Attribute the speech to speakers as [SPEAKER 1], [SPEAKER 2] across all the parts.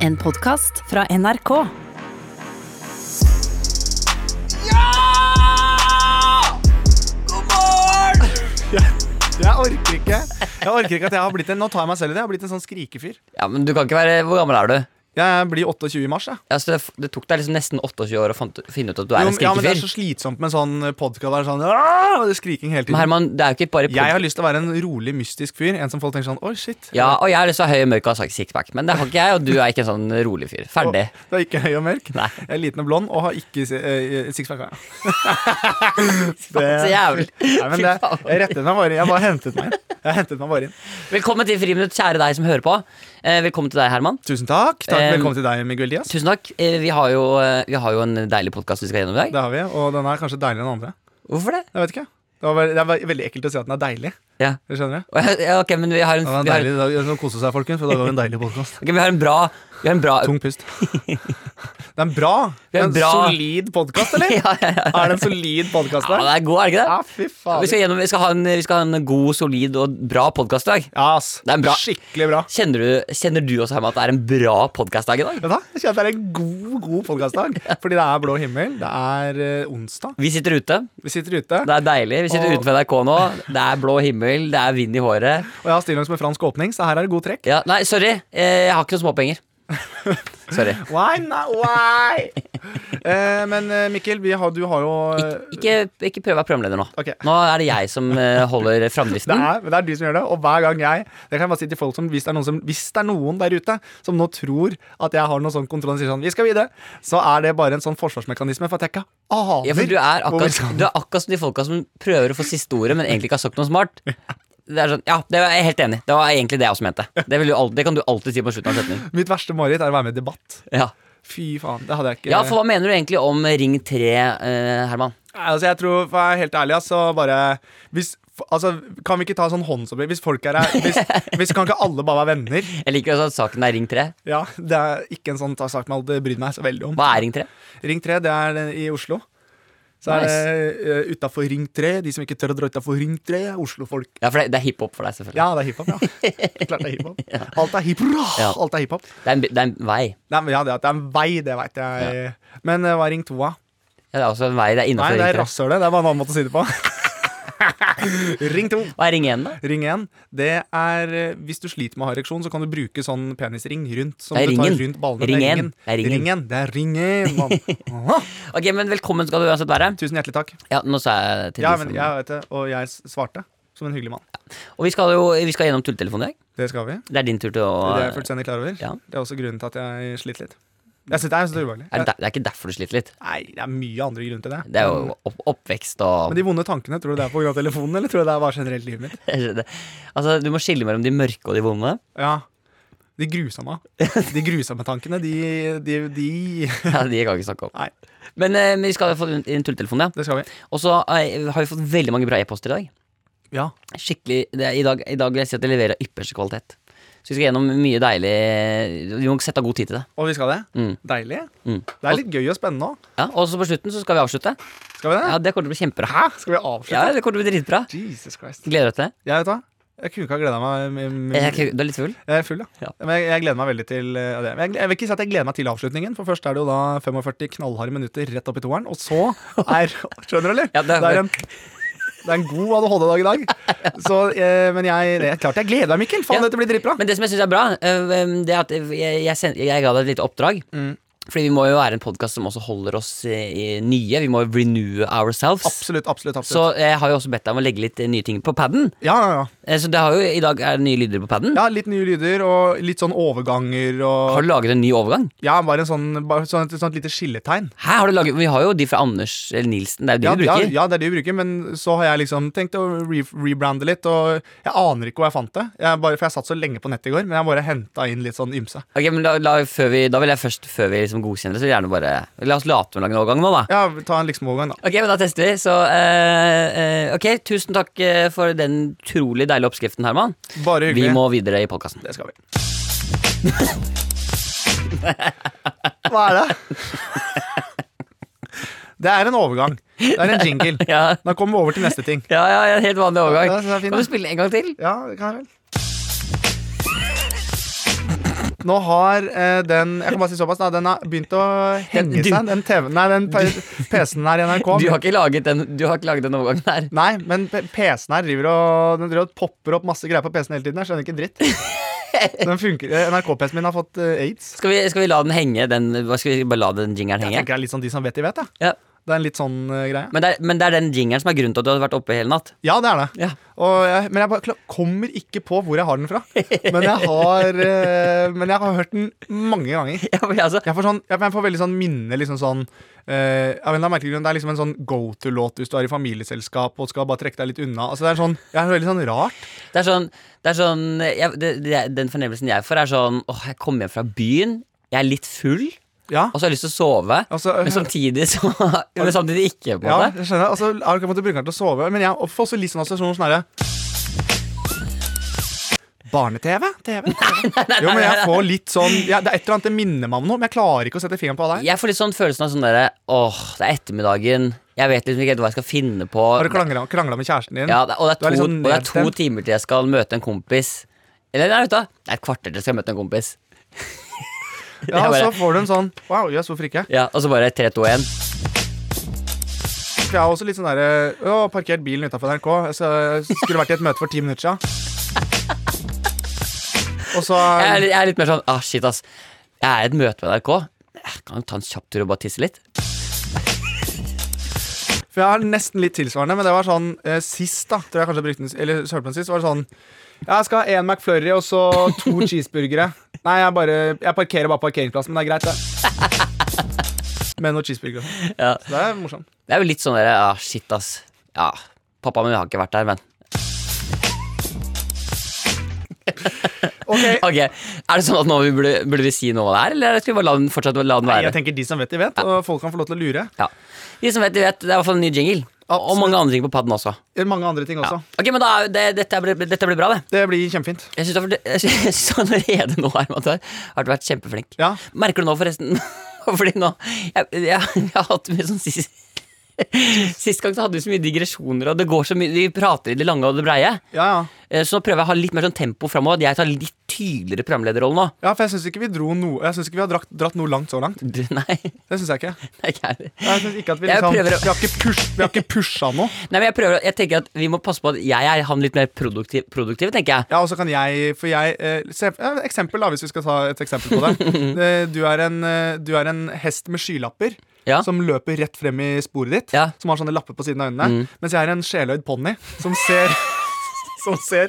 [SPEAKER 1] En podkast fra NRK.
[SPEAKER 2] Jeg orker ikke Jeg orker ikke at jeg har blitt en Nå tar jeg meg selv i det. Jeg har blitt en sånn skrikefyr.
[SPEAKER 3] Ja, men du kan ikke være Hvor gammel er du?
[SPEAKER 2] Jeg blir 28 i mars. Jeg.
[SPEAKER 3] Ja, så det, det tok deg liksom nesten 28 år å fant, finne ut at du er
[SPEAKER 2] Jo,
[SPEAKER 3] en
[SPEAKER 2] ja, men Det er
[SPEAKER 3] skrikefyr.
[SPEAKER 2] så slitsomt med sånn podkast. Sånn, «Åh!» det er skriking hele
[SPEAKER 3] men
[SPEAKER 2] tiden.
[SPEAKER 3] Herman, det er jo ikke bare
[SPEAKER 2] Jeg har lyst til å være en rolig, mystisk fyr. En som folk tenker sånn Oi, shit.
[SPEAKER 3] Ja, og jeg er liksom høy og mørk og har sagt sixpack, men det har ikke jeg, og du er ikke en sånn rolig fyr. Ferdig.
[SPEAKER 2] Det er ikke høy og mørk.
[SPEAKER 3] Nei.
[SPEAKER 2] Jeg er liten og blond og har ikke si- eh, sixpack. ja.
[SPEAKER 3] Så jævlig.
[SPEAKER 2] Nei, men det, jeg rettet meg bare inn. Jeg bare hentet meg inn. Jeg hentet meg bare inn.
[SPEAKER 3] Velkommen til Friminutt, kjære deg som hører på. Eh, velkommen til deg, Herman.
[SPEAKER 2] Tusen takk. takk.
[SPEAKER 3] Eh,
[SPEAKER 2] Velkommen til deg, Miguel Diaz.
[SPEAKER 3] Tusen takk. Eh, vi, har jo, eh, vi har jo en deilig podkast vi skal gjennom i dag.
[SPEAKER 2] Det har vi, og den er kanskje deiligere enn andre.
[SPEAKER 3] Hvorfor det?
[SPEAKER 2] Jeg vet ikke. Det, var, ve- det er veldig ekkelt å si at den er deilig.
[SPEAKER 3] Ja.
[SPEAKER 2] Skjønner du?
[SPEAKER 3] Og jeg- ja, ok, men vi har en,
[SPEAKER 2] Ja, det
[SPEAKER 3] vi
[SPEAKER 2] er
[SPEAKER 3] har,
[SPEAKER 2] deilig. Da da koser seg, folkens, for da går vi en deilig podkast.
[SPEAKER 3] ok, vi har en bra Vi har en bra
[SPEAKER 2] Tung pust. Det er en bra,
[SPEAKER 3] Det er en bra-
[SPEAKER 2] solid podkast, eller?
[SPEAKER 3] Ja, ja, ja.
[SPEAKER 2] Er det en solid podkast
[SPEAKER 3] ja,
[SPEAKER 2] der?
[SPEAKER 3] det er god, er det ikke det?
[SPEAKER 2] Ja, fy
[SPEAKER 3] Vi
[SPEAKER 2] faen.
[SPEAKER 3] skal, gjennom, vi, skal ha en, vi skal ha en god, solid og bra podkast i dag.
[SPEAKER 2] Ja, ass.
[SPEAKER 3] Det er en bra-
[SPEAKER 2] Skikkelig bra.
[SPEAKER 3] Kjenner du, kjenner du også, Herman, at det er en bra podkastdag i dag?
[SPEAKER 2] Vet du hva? Jeg kjenner at det er en god god podkastdag. Fordi det er blå himmel. Det er eh, onsdag.
[SPEAKER 3] Vi sitter ute.
[SPEAKER 2] Vi sitter ute,
[SPEAKER 3] Det er deilig. Vi sitter
[SPEAKER 2] Og-
[SPEAKER 3] utenfor NRK nå. Det er blå himmel, det er vind i håret.
[SPEAKER 2] og jeg har stillongs med fransk åpning, så her er det god trekk.
[SPEAKER 3] Ja, nei, sorry. eh, Jeg har ikke noen småpenger. Sorry.
[SPEAKER 2] Why not? Why? Eh, men eh, Mikkel, vi har, du har jo eh,
[SPEAKER 3] Ikke, ikke prøv å være programleder nå.
[SPEAKER 2] Ok.
[SPEAKER 3] Nå er det jeg som eh, holder
[SPEAKER 2] Det
[SPEAKER 3] framdriften.
[SPEAKER 2] er, men det er du som gjør det, og hver gang jeg Det kan jeg bare si til folk som hvis det er noen, som, hvis det er noen der ute som nå tror at jeg har noe sånn kontroll og sier sånn Vi skal videre, så er det bare en sånn forsvarsmekanisme for at jeg ikke aner
[SPEAKER 3] Ja, for du er
[SPEAKER 2] hvor vi
[SPEAKER 3] akkurat,
[SPEAKER 2] skal.
[SPEAKER 3] du er akkurat som de folka som prøver å få siste ordet, men egentlig ikke har sagt noe smart. Det er sånn, ja, det er jeg helt enig i. Det var egentlig det jeg også mente. Det, vil du al- det kan du alltid si på slutten av en setning.
[SPEAKER 2] Mitt verste mareritt er å være med i debatt.
[SPEAKER 3] Ja.
[SPEAKER 2] Fy faen, det hadde jeg ikke
[SPEAKER 3] ja, for hva mener du egentlig om Ring 3, eh, Herman?
[SPEAKER 2] Nei, Altså, jeg tror, for å være helt ærlig, ass, så bare hvis, f- altså, Kan vi ikke ta sånn håndsopplegg? Hvis folk er her hvis, hvis Kan ikke alle bare være venner?
[SPEAKER 3] Jeg liker også at saken er Ring 3.
[SPEAKER 2] Ja, Det er ikke en sånn sak man hadde brydd meg så veldig om.
[SPEAKER 3] Hva er Ring 3?
[SPEAKER 2] Ring 3, det er den i Oslo. Så er det uh, utafor Ring 3. De som ikke tør å dra utafor Ring 3, er Oslo-folk.
[SPEAKER 3] Ja, for det, det er hiphop for deg, selvfølgelig.
[SPEAKER 2] Ja, det er hiphop, ja. Klart det er hiphop. Alt er hiphop.
[SPEAKER 3] Ja.
[SPEAKER 2] Alt er hiphop.
[SPEAKER 3] Det, er en, bi- det er en vei.
[SPEAKER 2] Nei, men ja, det, at det er en vei, det veit jeg. Men eh, hva er Ring 2, da?
[SPEAKER 3] Ja, det er også en vei. Det er
[SPEAKER 2] Nei,
[SPEAKER 3] innafor
[SPEAKER 2] det
[SPEAKER 3] Ring
[SPEAKER 2] er
[SPEAKER 3] 3.
[SPEAKER 2] rasshølet. Det var en annen måte å si det på. ring 2.
[SPEAKER 3] Hva er Ring 1, da?
[SPEAKER 2] Ring 1, det er eh, Hvis du sliter med å ha ereksjon, så kan du bruke sånn penisring rundt. Som
[SPEAKER 3] Det er
[SPEAKER 2] du tar
[SPEAKER 3] ringen.
[SPEAKER 2] rundt ballene.
[SPEAKER 3] Ring
[SPEAKER 2] Det er
[SPEAKER 3] en.
[SPEAKER 2] ringen.
[SPEAKER 3] Det er ringen.
[SPEAKER 2] Ringen. Det er ringen, mann. Åh,
[SPEAKER 3] Ok, men Velkommen skal du uansett være.
[SPEAKER 2] Tusen hjertelig takk.
[SPEAKER 3] Ja, nå sa jeg til
[SPEAKER 2] Ja,
[SPEAKER 3] de som-
[SPEAKER 2] men jeg vet det, og jeg s- svarte som en hyggelig mann.
[SPEAKER 3] Og vi skal jo vi skal gjennom tulletelefonen i dag.
[SPEAKER 2] Det skal vi.
[SPEAKER 3] Det er din tur til å
[SPEAKER 2] Det er jeg
[SPEAKER 3] det,
[SPEAKER 2] fullstendig klar over.
[SPEAKER 3] ja.
[SPEAKER 2] Det er også grunnen til at jeg sliter litt. Jeg synes det er så ubehagelig.
[SPEAKER 3] er, der- det er ikke derfor du sliter litt.
[SPEAKER 2] Nei, det er mye andre grunner til det.
[SPEAKER 3] Det er jo opp, oppvekst og
[SPEAKER 2] Men de vonde tankene, tror du det er pga. telefonen, eller tror du det er bare generelt livet mitt?
[SPEAKER 3] Altså, Du må skille mellom de mørke og de vonde.
[SPEAKER 2] Ja, De grusomme. De grusomme tankene, de, de, de
[SPEAKER 3] Ja, De kan vi ikke snakke om.
[SPEAKER 2] Nei.
[SPEAKER 3] Men eh, men vi skal få inn inn tulletelefonen, ja.
[SPEAKER 2] Det skal vi.
[SPEAKER 3] Og så eh, har vi fått veldig mange bra e-poster i dag.
[SPEAKER 2] Ja.
[SPEAKER 3] Skikkelig, det, er- I dag I dag vil jeg si at det leverer av ypperste kvalitet. Så vi skal gjennom mye deilig Vi må sette av god tid til det.
[SPEAKER 2] Og vi skal det.
[SPEAKER 3] Mm.
[SPEAKER 2] Deilig.
[SPEAKER 3] Mm.
[SPEAKER 2] Det er litt gøy og spennende òg.
[SPEAKER 3] Ja, og så på slutten så skal vi avslutte.
[SPEAKER 2] Skal vi det?
[SPEAKER 3] Ja, Det kommer til å bli kjempebra.
[SPEAKER 2] Hæ? Skal vi avslutte?
[SPEAKER 3] Ja, det kommer til å bli dritbra.
[SPEAKER 2] Jesus Christ.
[SPEAKER 3] Gleder deg til det?
[SPEAKER 2] Jeg vet hva. Jeg kunne ikke ha gleda meg m- m-
[SPEAKER 3] Jeg er ikke- Du er litt full?
[SPEAKER 2] Jeg er full, ja.
[SPEAKER 3] Ja.
[SPEAKER 2] Men jeg, jeg gleder meg veldig til eh, det. Men Jeg, jeg vil ikke si at jeg gleder meg til avslutningen, for først er det jo da 45 knallharde minutter rett opp i toeren, og så er Skjønner du, eller?
[SPEAKER 3] Ja, det er-
[SPEAKER 2] en, det er en god ADHD-dag i dag. Så, eh, men jeg, det er klart jeg gleder meg, Mikkel. Faen,
[SPEAKER 3] Ja.
[SPEAKER 2] dette blir dritbra.
[SPEAKER 3] Men det som jeg syns er bra, eh, em, det er at jeg, jeg, send, jeg ga deg et lite oppdrag.
[SPEAKER 2] Mm.
[SPEAKER 3] Fordi vi må jo være en podkast som også holder oss eh, i nye. Vi må jo renew ourselves.
[SPEAKER 2] Absolutt, absolutt. absolutt.
[SPEAKER 3] Så jeg har jo også bedt deg om å legge litt eh, nye ting på paden.
[SPEAKER 2] Ja, ja, ja.
[SPEAKER 3] Så det har jo, i dag er det nye lyder på paden.
[SPEAKER 2] ja, litt nye lyder og litt sånn overganger og
[SPEAKER 3] Har du laget en ny overgang?
[SPEAKER 2] Ja, bare en sånn, bare sånn, et sånt lite skilletegn.
[SPEAKER 3] Hæ, har du laget, Vi har jo de fra Anders eller Nilsen. Det er jo de
[SPEAKER 2] Ja,
[SPEAKER 3] du
[SPEAKER 2] ja,
[SPEAKER 3] bruker.
[SPEAKER 2] ja, det er det vi bruker, men så har jeg liksom tenkt å re rebrande litt. Og jeg aner ikke hvor jeg fant det, jeg bare, for jeg satt så lenge på nettet i går. Men jeg bare henta inn litt sånn ymse.
[SPEAKER 3] Ok, men la, la, før vi, Da vil jeg først, før vi liksom godkjenner det, så gjerne bare La oss late som vi lager en overgang nå, da.
[SPEAKER 2] Ja, ta en liksom overgang, da.
[SPEAKER 3] Ok, men da tester vi. Så eh, eh, ok, tusen takk eh, for den utrolig deilige oppskriften, Herman.
[SPEAKER 2] Bare
[SPEAKER 3] Vi
[SPEAKER 2] hyggelig.
[SPEAKER 3] må videre i podkasten.
[SPEAKER 2] Det skal vi. Hva er det? Det er en overgang. Det er en jingle.
[SPEAKER 3] Ja.
[SPEAKER 2] Da kommer vi over til neste ting.
[SPEAKER 3] Ja, ja, ja, helt vanlig overgang.
[SPEAKER 2] Ja, så er det fint,
[SPEAKER 3] kan
[SPEAKER 2] da.
[SPEAKER 3] du spille en gang til?
[SPEAKER 2] Ja, det kan jeg vel. Nå har eh, den Jeg kan bare si såpass da Den har begynt å henge
[SPEAKER 3] Den- du-
[SPEAKER 2] seg. Den TV Nei, den P- PC-en her i NRK.
[SPEAKER 3] Du har ikke laget den, du har ikke laget den overgangen her.
[SPEAKER 2] Nei, men P- PC-en her driver og Den driver og popper opp masse greier på PC-en hele tiden. Jeg skjønner ikke en dritt. Den funker eh, NRK-PC-en min har fått eh, aids.
[SPEAKER 3] Skal vi, skal vi la den henge? Den, hva skal vi bare la den jingeren
[SPEAKER 2] Jeg
[SPEAKER 3] henge?
[SPEAKER 2] tenker det er litt sånn de som vet, de vet. Ja.
[SPEAKER 3] Ja.
[SPEAKER 2] Det er en litt sånn eh, greie.
[SPEAKER 3] Men, det er, men det er den jingeren som er grunnen til at du har vært oppe hele natt.
[SPEAKER 2] Ja, det er det.
[SPEAKER 3] Ja.
[SPEAKER 2] Og jeg, men jeg bare kla- kommer ikke på hvor jeg har den fra. Men jeg har, eh, men jeg har hørt den mange ganger.
[SPEAKER 3] Ja, men altså,
[SPEAKER 2] Jeg får, sånn, jeg jeg får veldig sånn minne liksom sånn, eh, av en eller annen merkelig grunn, Det er liksom en sånn go to-låt hvis du er i familieselskap og skal bare trekke deg litt unna. Altså, det er sånn, jeg er veldig sånn rart.
[SPEAKER 3] det er sånn, det er sånn jeg, det, det, Den fornemmelsen jeg får, er sånn Åh, jeg kom hjem fra byen, jeg er litt full,
[SPEAKER 2] Ja,
[SPEAKER 3] og så har jeg lyst til å sove.
[SPEAKER 2] altså,
[SPEAKER 3] Men samtidig så Men samtidig ikke, sånn på en
[SPEAKER 2] ja
[SPEAKER 3] måte.
[SPEAKER 2] jeg skjønner. Altså, jeg har ikke måttet bruke den til å sove. Men jeg får også litt sånn assosiasjon sånn herre Barne-TV? TV? Jo, men jeg får litt sånn ja, Det er et eller annet det minner meg om noe, men jeg klarer ikke å sette fingeren på hva det er.
[SPEAKER 3] Jeg får litt sånn følelsen av sånn derre Åh, det er ettermiddagen. Jeg vet liksom ikke helt hva jeg skal finne på.
[SPEAKER 2] Har du krangla, krangla med kjæresten din?
[SPEAKER 3] Ja, det- og det
[SPEAKER 2] Du
[SPEAKER 3] er,
[SPEAKER 2] er litt
[SPEAKER 3] to,
[SPEAKER 2] sånn
[SPEAKER 3] og det er to
[SPEAKER 2] nedstemt.
[SPEAKER 3] timer til jeg skal møte en kompis. Eller nei, vet du, hva? det er et kvarter til jeg skal møte en kompis.
[SPEAKER 2] Ja, og
[SPEAKER 3] Jeg bare-
[SPEAKER 2] så får du en sånn Wow, jøss, hvorfor ikke?
[SPEAKER 3] Ja, Og så bare 3, 2, 1.
[SPEAKER 2] For jeg er også litt sånn derre Å, parkert bilen utafor NRK. Så jeg skulle vært i et møte for ti minutter siden. Og så
[SPEAKER 3] Jeg er, litt- jeg er litt mer sånn ah, shit, ass. Jeg er i et møte med NRK. Jeg kan jo ta en kjapp tur og bare tisse litt.
[SPEAKER 2] For jeg har nesten litt tilsvarende, men det var sånn eh, sist, da. Tror jeg kanskje jeg brukte den Eller hørte på den sist, var det sånn Ja, jeg skal ha én McFlurry og så to cheeseburgere. Nei, jeg bare Jeg parkerer bare på parkeringsplassen, men det er greit, det. Med noen cheeseburgere.
[SPEAKER 3] Ja.
[SPEAKER 2] Så det er morsomt.
[SPEAKER 3] Det er jo litt sånn derre ah, shit, ass. Ja, pappa min har ikke vært der, men
[SPEAKER 2] Ok,
[SPEAKER 3] Ok, Er det sånn at nå vi burde, burde vi si noe om det her, eller skal vi bare la den fortsette la den
[SPEAKER 2] Nei, jeg
[SPEAKER 3] være?
[SPEAKER 2] tenker de som vet, de vet, og folk kan få lov til å lure.
[SPEAKER 3] Ja. De som vet, de vet. Det er i hvert fall en ny jingle. Og, og mange andre ting på padden også.
[SPEAKER 2] Mange andre ting også.
[SPEAKER 3] Ok, men da, er jo det, dette, blir, dette blir bra, det.
[SPEAKER 2] Det blir kjempefint.
[SPEAKER 3] Jeg syns du har allerede nå Herman, du har- har vært kjempeflink.
[SPEAKER 2] Ja.
[SPEAKER 3] Merker du nå, forresten Fordi nå Jeg, jeg, jeg har hatt mye sånn sist Sist gang så hadde vi så mye digresjoner, og det går så mye vi prater i det lange og det breie.
[SPEAKER 2] Ja, ja.
[SPEAKER 3] Eh, Så nå prøver jeg å ha litt mer sånn tempo framover. At jeg tar litt tydeligere programlederrolle nå.
[SPEAKER 2] Ja, for jeg syns ikke vi dro noe Jeg synes ikke vi har dratt, dratt noe langt så langt.
[SPEAKER 3] Du, nei,
[SPEAKER 2] Det synes jeg ikke.
[SPEAKER 3] det er ikke jeg.
[SPEAKER 2] Jeg synes ikke at Vi
[SPEAKER 3] Jeg
[SPEAKER 2] liksom
[SPEAKER 3] prøver å-
[SPEAKER 2] Vi har ikke, push, vi har ikke pusha noe.
[SPEAKER 3] Nei, men jeg prøver å- Jeg tenker at vi må passe på at jeg er han litt mer produktiv, produktiv tenker jeg.
[SPEAKER 2] Ja, og så kan jeg For jeg eh, se, ja, Eksempel, da, hvis vi skal ta et eksempel på det. Eh, Du er en, eh, du er en hest med skylapper
[SPEAKER 3] Ja.
[SPEAKER 2] som løper rett frem i sporet ditt.
[SPEAKER 3] Ja. Mm.
[SPEAKER 2] Som har sånne lapper på siden av øynene. Mens jeg er en sjeløyd ponni som ser Som ser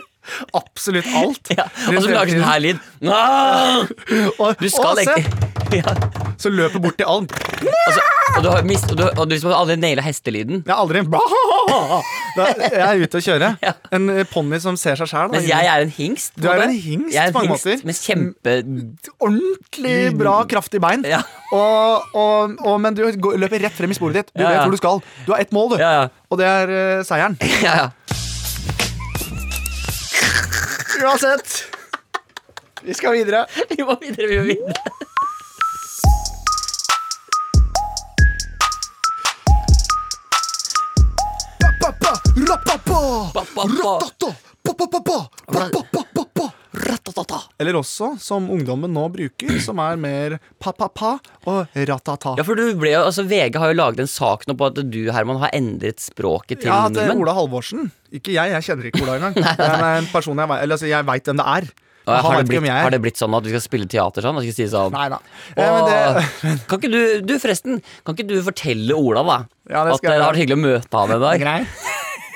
[SPEAKER 2] absolutt alt.
[SPEAKER 3] Ja, og så lager sånn her lyd. Ah!
[SPEAKER 2] Og,
[SPEAKER 3] Du skal
[SPEAKER 2] og se,
[SPEAKER 3] egentlig ja.
[SPEAKER 2] så løper bort til alt.
[SPEAKER 3] Altså, og du har mist, og du, og du liksom har aldri naila hestelyden.
[SPEAKER 2] Jeg har aldri da, Jeg er ute å kjøre. En eh, ponni som ser seg sjæl.
[SPEAKER 3] Mens jeg er en hingst. på
[SPEAKER 2] Du er
[SPEAKER 3] måte.
[SPEAKER 2] en hingst
[SPEAKER 3] Jeg er en
[SPEAKER 2] på mange
[SPEAKER 3] hingst
[SPEAKER 2] måter.
[SPEAKER 3] Med kjempe...
[SPEAKER 2] Ordentlig bra, kraftig bein.
[SPEAKER 3] Mm. Ja.
[SPEAKER 2] Og, og, og, men du går, løper rett frem i sporet ditt. Du
[SPEAKER 3] Ja, ja.
[SPEAKER 2] vet hvor du skal. Du har ett mål, du.
[SPEAKER 3] Ja, ja.
[SPEAKER 2] Og det er eh, seieren.
[SPEAKER 3] ja, ja.
[SPEAKER 2] Uansett. Vi skal videre.
[SPEAKER 3] Vi må videre, vi må videre.
[SPEAKER 2] Ba-ba-ba, ra-ba-ba,
[SPEAKER 3] Ba-ba-ba.
[SPEAKER 2] ra-ta-ta, ba-ba-ba-ba, ba-ba-ba-ba-ba.
[SPEAKER 3] Ratatata.
[SPEAKER 2] Eller også, som ungdommen nå bruker, som er mer pa-pa-pa og ra-ta-ta.
[SPEAKER 3] Ja, for du ble jo, altså VG har jo laget en sak nå på at du, Herman, har endret språket til
[SPEAKER 2] Ja, til
[SPEAKER 3] nordmenn.
[SPEAKER 2] Ola Halvorsen. Ikke jeg, jeg kjenner ikke Ola engang. Men en person jeg, vei- eller, altså, jeg veit hvem det er.
[SPEAKER 3] Og
[SPEAKER 2] Han vet
[SPEAKER 3] Har det,
[SPEAKER 2] ikke
[SPEAKER 3] blitt,
[SPEAKER 2] hvem jeg
[SPEAKER 3] har
[SPEAKER 2] er.
[SPEAKER 3] det blitt sånn at vi skal spille teater sånn? At vi skal si sånn
[SPEAKER 2] Nei da. Eh, men det,
[SPEAKER 3] «Åh, Kan ikke du, du forresten, kan ikke du fortelle Ola da
[SPEAKER 2] Ja, det
[SPEAKER 3] at
[SPEAKER 2] skal jeg
[SPEAKER 3] det har
[SPEAKER 2] gjøre.
[SPEAKER 3] vært hyggelig å møte han i
[SPEAKER 2] det er
[SPEAKER 3] dag?
[SPEAKER 2] greit.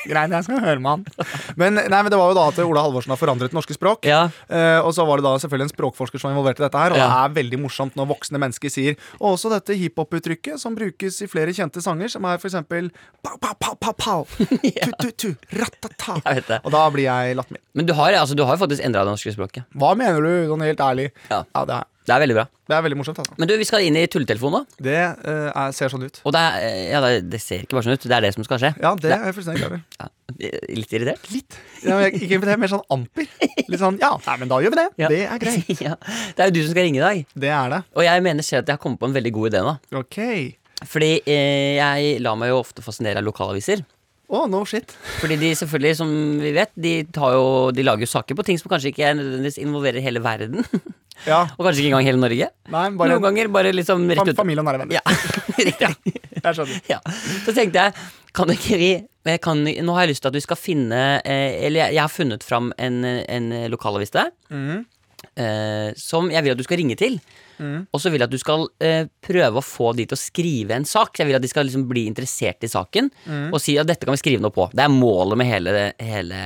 [SPEAKER 2] Greit, jeg skal høre med han. Men, nei, men det var jo da at Ola Halvorsen har forandret norske språk.
[SPEAKER 3] Ja.
[SPEAKER 2] Eh, og så var det da selvfølgelig en språkforsker som var involvert i dette her. Og det
[SPEAKER 3] Ja.
[SPEAKER 2] er veldig morsomt når voksne mennesker sier Og også dette hiphop-uttrykket som brukes i flere kjente sanger, som er for eksempel pow, pow, pow, pow, pow. Tu-tu-tu, ratata.
[SPEAKER 3] Jeg vet det.
[SPEAKER 2] Og da blir jeg lattermild.
[SPEAKER 3] Men du har, altså, du har jo faktisk endra det norske språket.
[SPEAKER 2] Hva mener du, sånn helt ærlig?
[SPEAKER 3] Ja.
[SPEAKER 2] det, er,
[SPEAKER 3] Det er veldig bra.
[SPEAKER 2] det er veldig morsomt, altså.
[SPEAKER 3] Men du, vi skal inn i tulletelefonen nå.
[SPEAKER 2] Det eh, er, ser sånn ut.
[SPEAKER 3] Og det, er, eh, ja, det, det ser ikke bare sånn ut, det er det som skal skje.
[SPEAKER 2] Ja, det er jeg fullstendig klar over.
[SPEAKER 3] Ja. Litt irritert?
[SPEAKER 2] Litt. Ja, jeg, ikke det, mer sånn amper. Litt sånn ja, nei, men da gjør vi det.
[SPEAKER 3] Ja.
[SPEAKER 2] Det er greit.
[SPEAKER 3] ja. Det er jo du som skal ringe i dag.
[SPEAKER 2] Det er det.
[SPEAKER 3] Og jeg mener selv at jeg har kommet på en veldig god idé nå.
[SPEAKER 2] Ok.
[SPEAKER 3] Fordi eh, jeg lar meg jo ofte fascinere av lokalaviser.
[SPEAKER 2] Oh, no shit.
[SPEAKER 3] Fordi de selvfølgelig, som vi vet, de, tar jo, de lager jo saker på ting som kanskje ikke nødvendigvis involverer hele verden.
[SPEAKER 2] Ja,
[SPEAKER 3] Og kanskje ikke engang hele Norge.
[SPEAKER 2] nei, bare
[SPEAKER 3] Noen ganger bare liksom rett
[SPEAKER 2] fam
[SPEAKER 3] ut.
[SPEAKER 2] familie og nære venner.
[SPEAKER 3] Ja, riktig.
[SPEAKER 2] Jeg skjønner.
[SPEAKER 3] Ja. Så tenkte jeg, kan ikke vi men jeg kan, Nå har jeg lyst til at vi skal finne eh, Eller jeg, jeg har funnet fram en, en lokalavis til deg.
[SPEAKER 2] Mm.
[SPEAKER 3] eh, som jeg vil at du skal ringe til.
[SPEAKER 2] Mm.
[SPEAKER 3] Og så vil jeg at du skal eh, prøve å få de til å skrive en sak. Jeg vil at de skal liksom bli interessert i saken
[SPEAKER 2] Mm.
[SPEAKER 3] og si at dette kan vi skrive noe på. Det er målet med hele, hele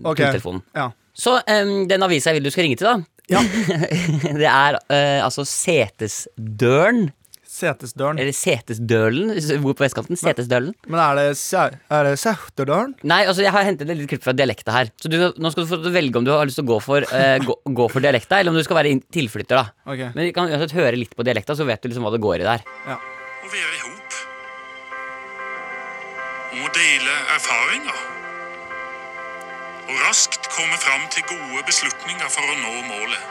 [SPEAKER 2] Ok.
[SPEAKER 3] telefonen.
[SPEAKER 2] Ja.
[SPEAKER 3] Så eh, den avisa jeg vil du skal ringe til, da.
[SPEAKER 2] Ja.
[SPEAKER 3] det er eh, altså Setesdølen.
[SPEAKER 2] Setesdølen.
[SPEAKER 3] Eller Setesdølen, hvis du bor på vestkanten. Setesdølen.
[SPEAKER 2] Men er det, Sau- er det Sauterdølen?
[SPEAKER 3] Nei, altså jeg har hentet et lite klipp fra dialekta her. Så du, nå skal du få velge om du har lyst til å gå for, eh, gå, gå for dialekta, eller om du skal være inn- tilflytter, da.
[SPEAKER 2] Ok.
[SPEAKER 3] Men vi kan uansett høre litt på dialekta, så vet du liksom hva det går i der.
[SPEAKER 4] å være ihop. Må dele erfaringer. Og raskt komme fram til gode beslutninger for å nå målet.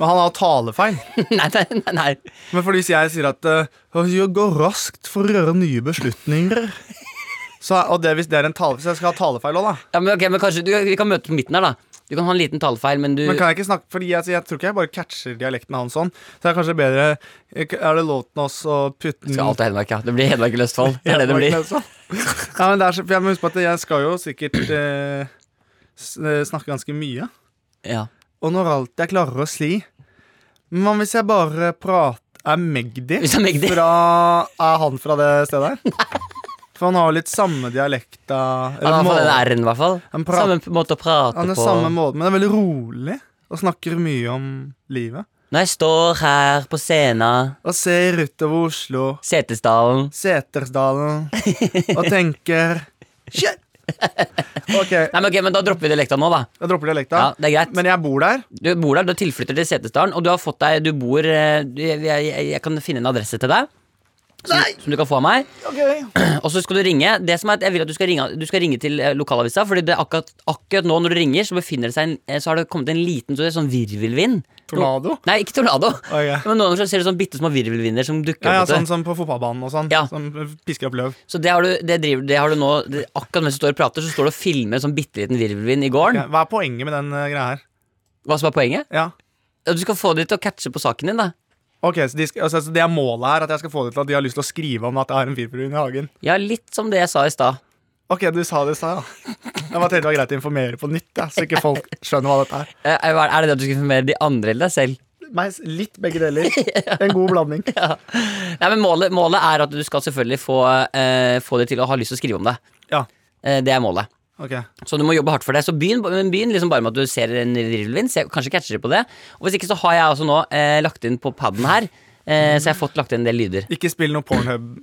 [SPEAKER 2] Men han har talefeil.
[SPEAKER 3] nei, nei, nei, nei.
[SPEAKER 2] Men fordi jeg sier at eh, «Å, jeg går raskt for å gjøre nye beslutninger så, Og det, hvis det er en tale, så jeg skal ha talefeil òg, da.
[SPEAKER 3] Ja, men ok, men kanskje du, Vi kan møtes på midten her, da. Du kan ha en liten talefeil, men du
[SPEAKER 2] Men kan jeg ikke snakke Fordi jeg, jeg tror ikke jeg bare catcher dialekten hans sånn. Så det er kanskje bedre Er det lov til oss å putte den
[SPEAKER 3] Skal alt av Hedmark, ja. Det blir Hedmark eller Østfold. Det er det det blir.
[SPEAKER 2] sånn. Ja, men det er så, for jeg må huske på at jeg skal jo sikkert eh, s- eh, snakke ganske mye.
[SPEAKER 3] Ja.
[SPEAKER 2] Og når alt jeg klarer å sli Men hvis jeg bare prater Er Magdi,
[SPEAKER 3] Hvis det er Magdi.
[SPEAKER 2] Fra, er han fra det stedet her? For han har litt samme dialekta
[SPEAKER 3] Han har i hvert fall den
[SPEAKER 2] han,
[SPEAKER 3] R-en, i hvert fall.
[SPEAKER 2] Han prater-
[SPEAKER 3] Samme måte å prate
[SPEAKER 2] han er
[SPEAKER 3] på.
[SPEAKER 2] samme måte, men det er veldig rolig Og snakker mye om livet
[SPEAKER 3] Når jeg står her på scenen,
[SPEAKER 2] Og ser utover Oslo
[SPEAKER 3] Setesdalen
[SPEAKER 2] Setersdalen Og tenker Shit Ok,
[SPEAKER 3] Nei, men ok, men Da dropper vi dialekta nå, da.
[SPEAKER 2] jeg dropper dialekta
[SPEAKER 3] Ja, det er greit.
[SPEAKER 2] Men jeg bor der
[SPEAKER 3] Du bor der, du tilflytter til Setesdalen, og du har fått deg Du bor eh, du- Jeg, jeg, jeg kan finne en adresse til deg. Som, som du kan få av meg.
[SPEAKER 2] Ok
[SPEAKER 3] Og så skal du ringe. Det som er at Jeg vil at du skal ringe, du skal ringe til eh, lokalavisa, Fordi det er akkurat, akkurat nå når du ringer, så befinner det seg en, eh, Så har det kommet en liten sånn- sånn virvelvind.
[SPEAKER 2] Tornado?
[SPEAKER 3] Nei, ikke tornado.
[SPEAKER 2] Ok.
[SPEAKER 3] Men noen ganger så ser du sånn bitte små virvelvinder som dukker
[SPEAKER 2] ja, ja,
[SPEAKER 3] opp. vet du.
[SPEAKER 2] sånn som på fotballbanen og sånn
[SPEAKER 3] Ja.
[SPEAKER 2] Som pisker opp løv
[SPEAKER 3] Så det har du, det driver, det har du nå det, Akkurat mens du står og prater, så står du og filmer en sånn bitte liten virvelvind i gården.
[SPEAKER 2] Ok, Hva er poenget med den eh, greia her?
[SPEAKER 3] Hva som er poenget?
[SPEAKER 2] Ja
[SPEAKER 3] Ja, Du skal få de til å catche på saken din, da.
[SPEAKER 2] Ok, så, de skal, altså, så det er målet her At jeg skal få det til at de har lyst til å skrive om at jeg har en firbrun i hagen
[SPEAKER 3] Ja, litt som det jeg sa i stad.
[SPEAKER 2] Ok, du sa det i stad, ja Jeg bare tenkte det var greit å informere på nytt ja, Så ikke folk skjønner hva dette er
[SPEAKER 3] Eh, Er er det det at du skal informere de andre eller deg selv?
[SPEAKER 2] Meg s- litt begge deler En god blanding
[SPEAKER 3] Nei, men Målet, målet er at du skal selvfølgelig få, eh, få de til å ha lyst til å skrive om det.
[SPEAKER 2] Ja,
[SPEAKER 3] Eh, det er målet.
[SPEAKER 2] ok
[SPEAKER 3] Så du må jobbe hardt for det. Så begynn, men begynn liksom bare med at du ser en virvelvind. se- Kanskje catcher de på det. Og Hvis ikke så har jeg også nå eh, lagt inn på paden her. Eh, så jeg har fått lagt inn en del lyder.
[SPEAKER 2] Ikke spill noe Pornhub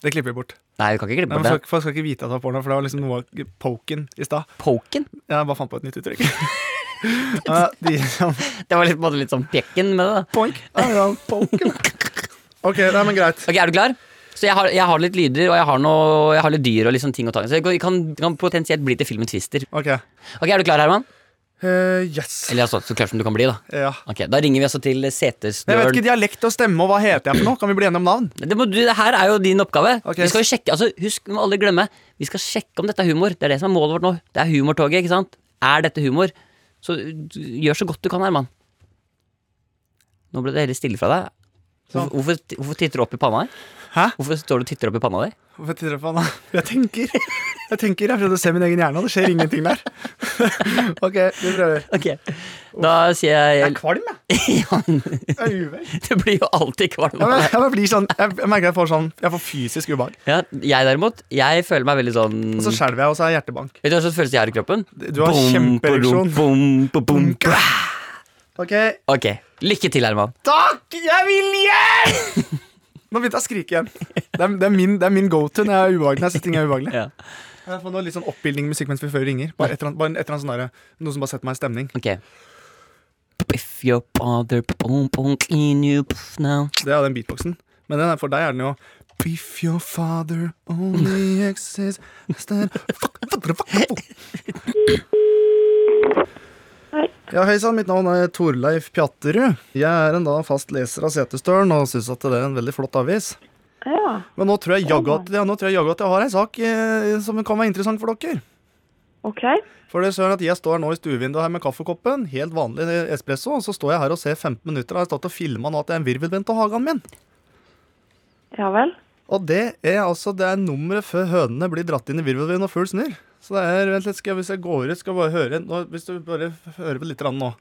[SPEAKER 2] Det klipper vi bort
[SPEAKER 3] Nei, vi kan ikke
[SPEAKER 2] Nei,
[SPEAKER 3] klippe
[SPEAKER 2] men
[SPEAKER 3] bort det.
[SPEAKER 2] folk, folk skal ikke vite at det var porno For det var liksom noe av poken i stad.
[SPEAKER 3] Poken?
[SPEAKER 2] Jeg bare fant på et nytt uttrykk ja, De som
[SPEAKER 3] Det var litt, på en måte litt sånn pekken med det. da.
[SPEAKER 2] Poink Ja, ja, poken Ok, nei, men greit
[SPEAKER 3] Ok, Er du klar? Så jeg har, jeg har litt lyder, og jeg har, noe, jeg har litt dyr og litt sånn ting å ta i. Så det kan, kan potensielt bli til filmen Twister.
[SPEAKER 2] Ok
[SPEAKER 3] Ok, Er du klar, Herman?
[SPEAKER 2] Eh, Yes
[SPEAKER 3] Eller altså, så klar som du kan bli, da.
[SPEAKER 2] Ja
[SPEAKER 3] Ok, Da ringer vi altså til
[SPEAKER 2] Men Jeg vet
[SPEAKER 3] Setesdølen.
[SPEAKER 2] ikke dialekt og stemme, og hva heter jeg for noe? Kan vi bli enige om navn?
[SPEAKER 3] Det, må du, det her er jo din oppgave.
[SPEAKER 2] Ok.
[SPEAKER 3] Vi skal jo sjekke, altså Husk, vi må aldri glemme Vi skal sjekke om dette er humor. Det er det som er målet vårt nå. Det er humortoget. ikke sant? Er dette humor? Så du, gjør så godt du kan, Herman. Nå ble det heller stille fra deg.
[SPEAKER 2] Sånn.
[SPEAKER 3] Hvorfor, hvorfor, hvorfor titter du opp i panna di?
[SPEAKER 2] Hæ?
[SPEAKER 3] Hvorfor står du og titter opp i panna di?
[SPEAKER 2] Hvorfor titter du på han da? Jeg tenker. Jeg tenker, jeg prøvde å se min egen hjerne, og det skjer ingenting der. Ok, vi prøver.
[SPEAKER 3] Ok, Da sier jeg,
[SPEAKER 2] Jeg er kvalm, jeg.
[SPEAKER 3] Ja,
[SPEAKER 2] Jeg er uvel.
[SPEAKER 3] Du blir jo alltid kvalm.
[SPEAKER 2] Jeg, bare- jeg bare blir sånn, jeg, jeg merker jeg får sånn, jeg får fysisk ubehag.
[SPEAKER 3] Ja, jeg derimot, jeg føler meg veldig sånn
[SPEAKER 2] Og så skjelver jeg, og så har jeg hjertebank.
[SPEAKER 3] Vet du hva slags følelse jeg har i kroppen?
[SPEAKER 2] Du har kjempereaksjon.
[SPEAKER 3] Bom, bom, bom, bom.
[SPEAKER 2] Ok,
[SPEAKER 3] Ok, lykke til, Herman.
[SPEAKER 2] takk! Jeg vil hjem! Nå begynte jeg å skrike igjen. Det er, det er min, det er min go-to når jeg er ubehagelig. Når jeg synes ting er ubehagelig.
[SPEAKER 3] Ja.
[SPEAKER 2] Jeg får noe litt sånn oppbildning musikk mens vi før ringer. Bare et eller annet, bare et eller annet sånn der, noe som bare setter meg i stemning.
[SPEAKER 3] Ok. If your father boom, boom, clean you pff, now.
[SPEAKER 2] Det er den beatboxen. Men den er, for deg er den jo If your father only exists as that- Fuck, fuck, fuck, fuck. Ja, Hei sann, mitt navn er Torleif Pjatterud. Jeg er en da fast leser av Setesdølen og syns at det er en veldig flott avis.
[SPEAKER 5] Ja.
[SPEAKER 2] Men nå tror jeg jaggu at, ja, nå tror jeg jaggu at jeg har en sak eh, som kan være interessant for dere.
[SPEAKER 5] OK.
[SPEAKER 2] For det er søren at Jeg står nå i stuevinduet her med kaffekoppen, helt vanlig espresso, og så står jeg her og ser 15 minutter og har stått og filma nå at det er en virvelvind av hagen min.
[SPEAKER 5] Ja vel.
[SPEAKER 2] Og det er altså det er nummeret før hønene blir dratt inn i virvelvind og full snurr. Så det er, vent litt, skal jeg, Hvis jeg går ut, skal jeg bare høre nå, Hvis du bare hører på litt grann nå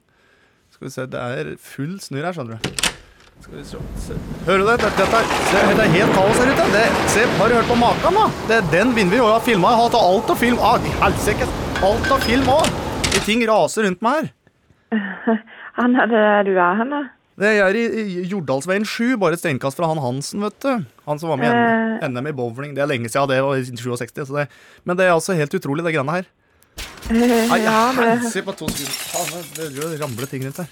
[SPEAKER 2] Skal vi se, Det er full snurr her, skjønner du. Skal vi se, se. Hører du det? Dette, dette, er- se, dette er helt kaos her ute. Det, se, Har du hørt på maken, da? Det er den vinden vi har filma. Jeg har hatt alt av film. Ah, Helsike! Alt av film òg! De ting raser rundt meg her.
[SPEAKER 5] Han er det du er henne?
[SPEAKER 2] Det er i i Jordalsveien 7, bare et steinkast fra han Hansen, vet du. Han som var med
[SPEAKER 5] Eh.
[SPEAKER 2] i N- NM i bowling. Det er lenge siden, det var i 67. Så det, men det er altså helt utrolig, det greiene her.
[SPEAKER 5] Eh,
[SPEAKER 2] Ai, helsike, på to sekunder. Faen, det, det ramler ting rundt her.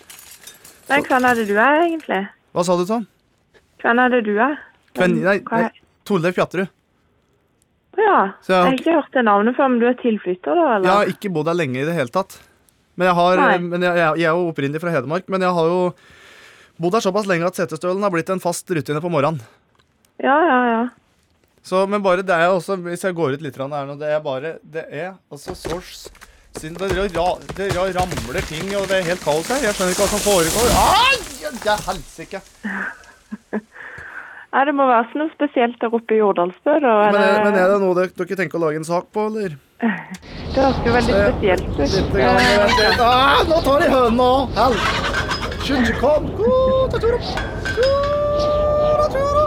[SPEAKER 5] Nei, hvem er det du er, egentlig?
[SPEAKER 2] Hva sa du, Tom?
[SPEAKER 5] Hvem er det du er?
[SPEAKER 2] Kven, nei,
[SPEAKER 5] Hva
[SPEAKER 2] nei,
[SPEAKER 5] er-
[SPEAKER 2] Torleif Pjatterud.
[SPEAKER 5] Ja.
[SPEAKER 2] Så jeg
[SPEAKER 5] Jeg
[SPEAKER 2] har
[SPEAKER 5] har ikke hørt det navnet før, men du er tilflytter, da?
[SPEAKER 2] Jeg har
[SPEAKER 5] eller?
[SPEAKER 2] ikke bodd her lenge i det hele tatt. Men jeg, har,
[SPEAKER 5] Nei.
[SPEAKER 2] men jeg, jeg, jeg er jo opprinnelig fra Hedmark, men jeg har jo bodd her såpass lenge at setestølen har blitt en fast rutine på morgenen.
[SPEAKER 5] Ja, ja, ja.
[SPEAKER 2] Så, men bare det er også, hvis jeg går ut litt grann her nå, det er bare, det er altså så s- siden det, ra, det ra, ramler ting, og det er helt kaos her. Jeg skjønner ikke hva som foregår. Ai, det er helsike.
[SPEAKER 5] Nei, det må være sånn noe spesielt der oppe i Jordalsbø,
[SPEAKER 2] Men,
[SPEAKER 5] da. eller-
[SPEAKER 2] er- men er det noe dere, dere tenker å lage en sak på, eller?
[SPEAKER 5] Det høres jo veldig
[SPEAKER 2] Eh,
[SPEAKER 5] spesielt
[SPEAKER 2] Litt
[SPEAKER 5] ut.
[SPEAKER 2] grann,
[SPEAKER 5] Eh,
[SPEAKER 2] litt grann. Ah, nå tar de hønene òg! Hell! Skynd deg, kom! Gå, ta turen. Tura, tura.